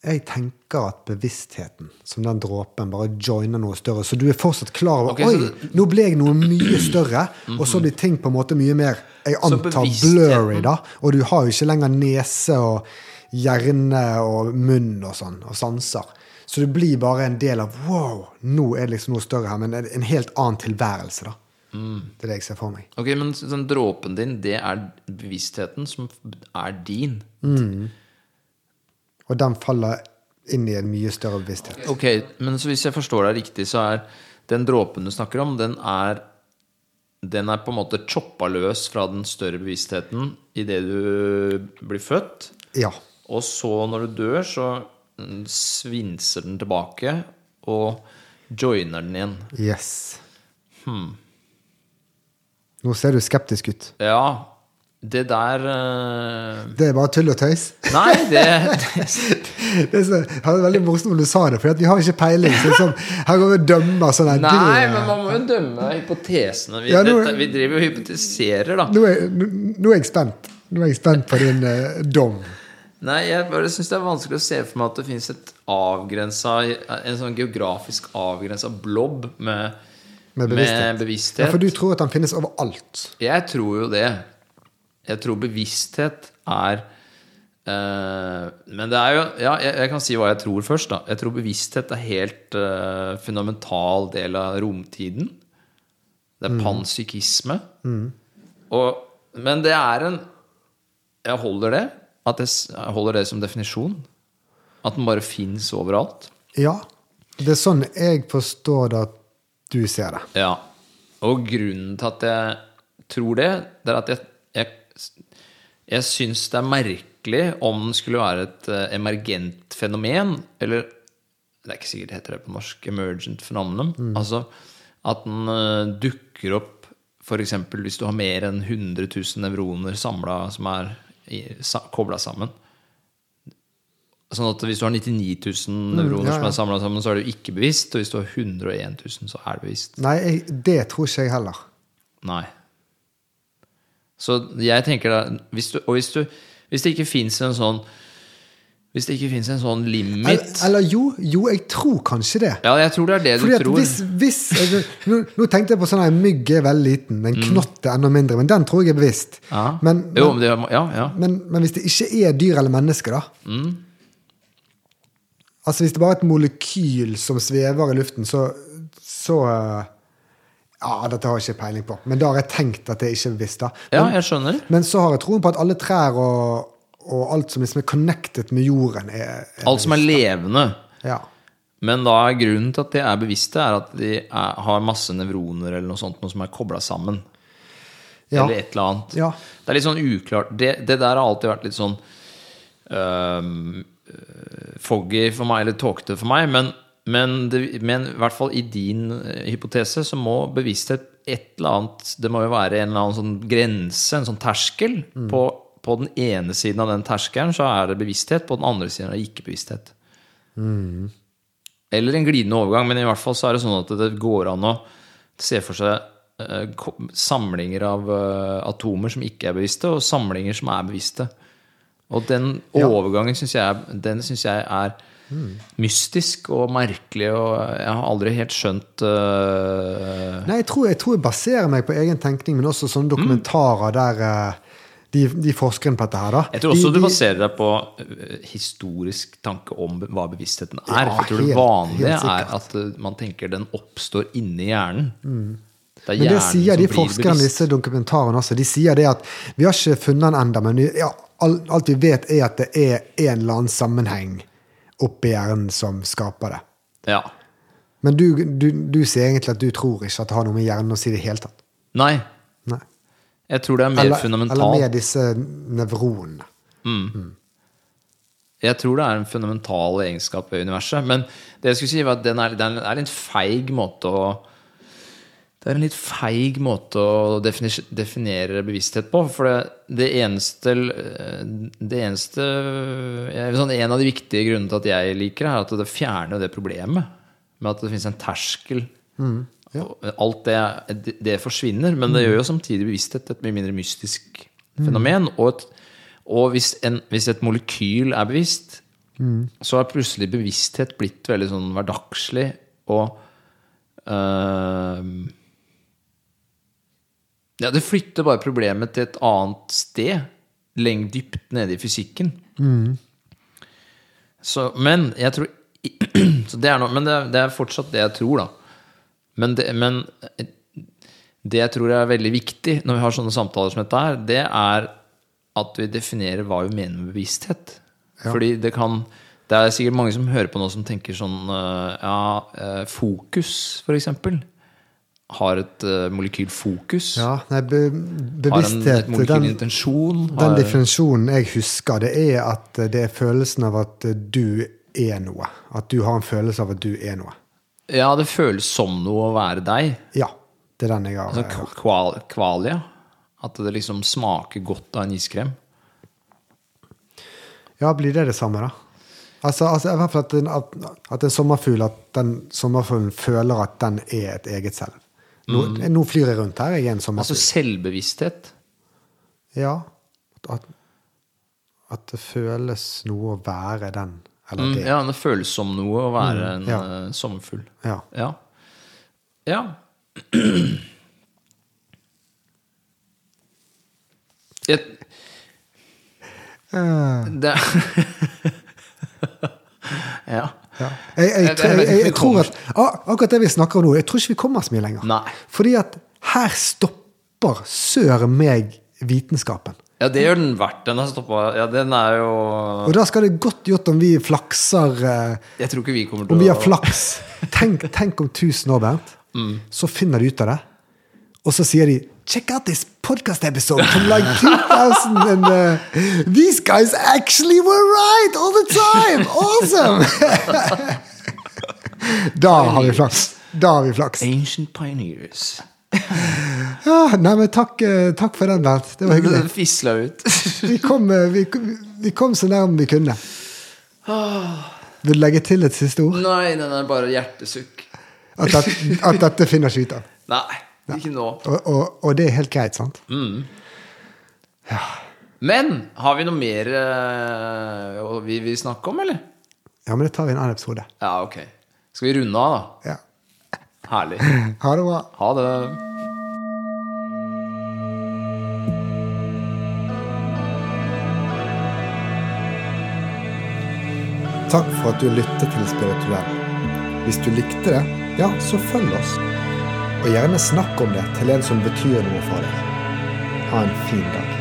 [SPEAKER 1] Jeg tenker at bevisstheten, som den dråpen, bare joiner noe større. Så du er fortsatt klar over
[SPEAKER 2] Ok,
[SPEAKER 1] Oi,
[SPEAKER 2] så Mhm.
[SPEAKER 1] nå ble jeg noe mye større. Og så blir ting på en måte mye mer jeg
[SPEAKER 2] Så Mhm.
[SPEAKER 1] antar
[SPEAKER 2] bevisstheten-
[SPEAKER 1] blurry, da. Og du har jo ikke lenger nese og hjerne og munn og sånn, og sanser. Så det blir bare en del av Wow, nå er det liksom noe større her. Men en en helt annen tilværelse, da.
[SPEAKER 2] Mm.
[SPEAKER 1] Det er det jeg ser for meg.
[SPEAKER 2] Ok, Men den dråpen din, det er bevisstheten som er din.
[SPEAKER 1] Og den faller inn i en mye større bevissthet.
[SPEAKER 2] Ok, Men så hvis jeg forstår deg riktig, så er den dråpen du snakker om, den er den er på en måte choppa løs fra den større bevisstheten idet du blir født.
[SPEAKER 1] Ja.
[SPEAKER 2] Og så når du dør, så mm, svinser den tilbake og joiner den igjen.
[SPEAKER 1] Yes.
[SPEAKER 2] Hmm.
[SPEAKER 1] Nå ser du skeptisk ut.
[SPEAKER 2] Ja, det der eh,
[SPEAKER 1] Det er bare tull og tøys.
[SPEAKER 2] Nei, det, det
[SPEAKER 1] Det er så, det er veldig morsomt om du sa det, for vi har ikke peiling. Så liksom, her går vi og dømmer sånn her.
[SPEAKER 2] Nei, men man må jo dømme hypotesene. Vi,
[SPEAKER 1] Ja, nå-
[SPEAKER 2] dette, vi driver og hypotiserer, da.
[SPEAKER 1] eh, nå, er, nå, nå er jeg spent. Nå er jeg spent på din eh, dom.
[SPEAKER 2] Nei, jeg bare syns det er vanskelig å se for meg at det fins et avgrensa En sånn geografisk avgrensa blobb med,
[SPEAKER 1] Med bevissthet.
[SPEAKER 2] med bevissthet.
[SPEAKER 1] Ja, for du tror at den finnes overalt.
[SPEAKER 2] Jeg tror jo det. Jeg tror bevissthet er eh, Men det er jo Ja, jeg, jeg kan si hva jeg tror først, da. Jeg tror bevissthet er helt eh, fundamental del av romtiden. Det er panpsykisme. Og, men det er en Jeg holder det. At jeg, s- jeg holder det som definisjon. At den bare fins overalt.
[SPEAKER 1] Ja. Det er sånn jeg forstår det at du ser det.
[SPEAKER 2] Ja. Og grunnen til at jeg tror det, det er at jeg, jeg, jeg syns det er merkelig om den skulle være et eh, emergent fenomen, eller det er ikke sikkert det heter det på norsk, emergent phenomenon,
[SPEAKER 1] Mm.
[SPEAKER 2] altså at den eh, dukker opp f.eks. hvis du har mer enn 100 000 nevroner samla som er kobla sammen. Sånn at hvis du har 99 000
[SPEAKER 1] Mm,
[SPEAKER 2] nevroner
[SPEAKER 1] ja,
[SPEAKER 2] som
[SPEAKER 1] ja.
[SPEAKER 2] er samla sammen, så er det jo ikke bevisst. Og hvis du har 101 000, så er det bevisst.
[SPEAKER 1] Nei, jeg, det tror ikke jeg heller.
[SPEAKER 2] Nei. Så jeg tenker da hvis du, Og hvis, du, hvis det ikke fins en sånn Hvis det ikke fins en sånn
[SPEAKER 1] Eller,
[SPEAKER 2] limit
[SPEAKER 1] eller jo, jo, jeg tror kanskje det.
[SPEAKER 2] Ja, jeg tror det er det du
[SPEAKER 1] Fordi at
[SPEAKER 2] tror.
[SPEAKER 1] hvis, hvis jeg, nå, nå tenkte jeg på sånn her mygg er veldig liten, en knott er enda mindre, men den tror jeg er bevisst.
[SPEAKER 2] Mm. ja.
[SPEAKER 1] Men,
[SPEAKER 2] jo, men det, ja, ja.
[SPEAKER 1] men, men hvis det ikke er dyr eller menneske, da
[SPEAKER 2] Mm.
[SPEAKER 1] Altså hvis det bare er et molekyl som svever i luften, så, så eh, Ja, dette har jeg ikke peiling på, men da har jeg tenkt at det ikke er bevisst. da.
[SPEAKER 2] ja, jeg skjønner.
[SPEAKER 1] Men så har jeg troen på at alle trær og, og alt som liksom er connected med jorden, er, er
[SPEAKER 2] Alt som er levende.
[SPEAKER 1] ja.
[SPEAKER 2] Men da er grunnen til at de er bevisste, er at de er, har masse nevroner eller noe sånt noe som er kobla sammen.
[SPEAKER 1] Ja.
[SPEAKER 2] Eller et eller annet.
[SPEAKER 1] Ja.
[SPEAKER 2] Det er litt sånn uklart. Det, det der har alltid vært litt sånn øhm, øh, foggy for meg, eller tåkete for meg. Men, men, det, men i hvert fall i din eh, hypotese så må bevissthet et eller annet Det må jo være en eller annen sånn grense, en sånn terskel.
[SPEAKER 1] Mm.
[SPEAKER 2] På, på den ene siden av den terskelen så er det bevissthet, på den andre siden er det ikke bevissthet. Eller en glidende overgang, men i hvert fall så er det sånn at det går an å se for seg eh, ko- samlinger av eh, atomer som ikke er bevisste, og samlinger som er bevisste. Og den overgangen syns jeg, er- den synes jeg er mystisk og merkelig, og jeg har aldri helt skjønt eh,
[SPEAKER 1] Nei, jeg tror, jeg tror jeg baserer meg på egen tenkning, men også
[SPEAKER 2] Mm.
[SPEAKER 1] sånne dokumentarer der eh, de, de forskerne på dette her, da.
[SPEAKER 2] Jeg tror også
[SPEAKER 1] de,
[SPEAKER 2] du
[SPEAKER 1] de-
[SPEAKER 2] baserer deg på eh, historisk tanke om be- hva bevisstheten er.
[SPEAKER 1] Ja,
[SPEAKER 2] for jeg tror det
[SPEAKER 1] helt-
[SPEAKER 2] vanlige
[SPEAKER 1] helt sikkert.
[SPEAKER 2] er at eh, man tenker den oppstår inni hjernen. Det er
[SPEAKER 1] Mm. Men det sier de
[SPEAKER 2] som blir
[SPEAKER 1] forskerne i
[SPEAKER 2] bevisst.
[SPEAKER 1] disse dokumentarene også. De sier det at vi har ikke funnet den ennå, men vi- ja, alt, alt vi vet, er at det er en eller annen sammenheng oppi hjernen som skaper det.
[SPEAKER 2] Ja.
[SPEAKER 1] Men du, du, du sier egentlig at du tror ikke at det har noe med hjernen å si i det hele tatt.
[SPEAKER 2] Nei,
[SPEAKER 1] Nei.
[SPEAKER 2] jeg tror det er mer
[SPEAKER 1] eller
[SPEAKER 2] fundamentalt.
[SPEAKER 1] med disse nevronene.
[SPEAKER 2] Jeg tror det er en fundamental egenskap ved universet. Men det jeg skulle si var at den er, den er en litt feig måte å det er en litt feig måte å defini- definere bevissthet på. For det, det eneste, eh, det eneste jeg- sånn En av de viktige grunnene til at jeg liker det, er at det fjerner jo det problemet med at det finnes en terskel. Og Alt det, det- det forsvinner, men det gjør jo samtidig bevissthet til et mye mindre mystisk fenomen. Og, et, og hvis, en, hvis et molekyl er bevisst, så har plutselig bevissthet blitt veldig sånn hverdagslig og eh, ja, det flytter bare problemet til et annet sted. Lengt dypt nede i fysikken. Så, men jeg tror (clears throat) så det er noe, Men det er, det er fortsatt det jeg tror, da. Men det, men eh, det jeg tror er veldig viktig når vi har sånne samtaler som dette her, det er at vi definerer hva vi mener med bevissthet. Fordi det kan Det er sikkert mange som hører på nå som tenker sånn eh, Ja, eh, fokus, for eksempel. har et eh, molekylfokus,
[SPEAKER 1] Ja, nei, be,
[SPEAKER 2] har en,
[SPEAKER 1] bevissthet
[SPEAKER 2] et
[SPEAKER 1] den,
[SPEAKER 2] molekylintensjon
[SPEAKER 1] den
[SPEAKER 2] har-
[SPEAKER 1] definisjonen jeg husker, det er at det er følelsen av at du er noe. At du har en følelse av at du er noe.
[SPEAKER 2] Ja, det føles som noe å være deg.
[SPEAKER 1] Ja. Det er den jeg har.
[SPEAKER 2] Altså k- kval, kvalia. At det liksom smaker godt av en iskrem.
[SPEAKER 1] eh, Ja, blir det det samme, da? Altså, altså i hvert fall at en, at, at en sommerfugl at den sommerfuglen føler at den er et eget selv. Nå, nå flyr jeg rundt her, jeg er en
[SPEAKER 2] Mm. Altså
[SPEAKER 1] sommerfugl.
[SPEAKER 2] selvbevissthet.
[SPEAKER 1] ja. At, at det føles noe å være den, eller
[SPEAKER 2] Mm,
[SPEAKER 1] det.
[SPEAKER 2] ja, det føles som noe å være en
[SPEAKER 1] Mm, ja.
[SPEAKER 2] eh, sommerfugl.
[SPEAKER 1] Ja.
[SPEAKER 2] Ja. ja. Jeg,
[SPEAKER 1] Eh,
[SPEAKER 2] det (laughs) Ja.
[SPEAKER 1] ja. Jeg, jeg,
[SPEAKER 2] Jeg- jeg
[SPEAKER 1] jeg,
[SPEAKER 2] vet ikke
[SPEAKER 1] jeg,
[SPEAKER 2] om vi
[SPEAKER 1] tror at ah, Akkurat det vi snakker om nå, jeg tror ikke vi kommer så mye lenger.
[SPEAKER 2] Nei.
[SPEAKER 1] Fordi at her stopper sør meg vitenskapen.
[SPEAKER 2] ja, det gjør den verdt. Den har stoppa Ja, den er jo
[SPEAKER 1] Og da skal det godt gjort om vi flakser eh,
[SPEAKER 2] Jeg tror ikke vi kommer til
[SPEAKER 1] Om vi har
[SPEAKER 2] å-
[SPEAKER 1] flaks Tenk, tenk om tusen år, Bernt. Så finner de ut av det. Og så sier de Check out this podcast episode from like 2000 and uh, These guys actually were right all the time! Awesome! (laughs) da har vi flaks. Da har vi flaks.
[SPEAKER 2] Ancient Pioneers.
[SPEAKER 1] Ja, nei, men takk, eh, takk for den, Bernt. Det var hyggelig.
[SPEAKER 2] Det (laughs) fisla ut.
[SPEAKER 1] Vi kom, eh, vi, vi kom så nærme vi kunne. Vil du legge til et siste ord?
[SPEAKER 2] Nei, den er bare hjertesukk.
[SPEAKER 1] At, det, at dette finner ikke ut av.
[SPEAKER 2] Nei, ikke nå.
[SPEAKER 1] Og, og, og det er helt greit, sant?
[SPEAKER 2] Men har vi noe mer eh, å- vi vil snakke om, eller?
[SPEAKER 1] Ja, men det tar vi i en annen episode.
[SPEAKER 2] Ja, ok. Skal vi runde av, da?
[SPEAKER 1] Ja.
[SPEAKER 2] Herlig.
[SPEAKER 1] Ha det bra.
[SPEAKER 2] Ha det.
[SPEAKER 1] Takk for at du lyttet til Spirituell. Hvis du likte det, ja, så følg oss. Og gjerne snakk om det til en som betyr noe for deg. Ha en fin dag.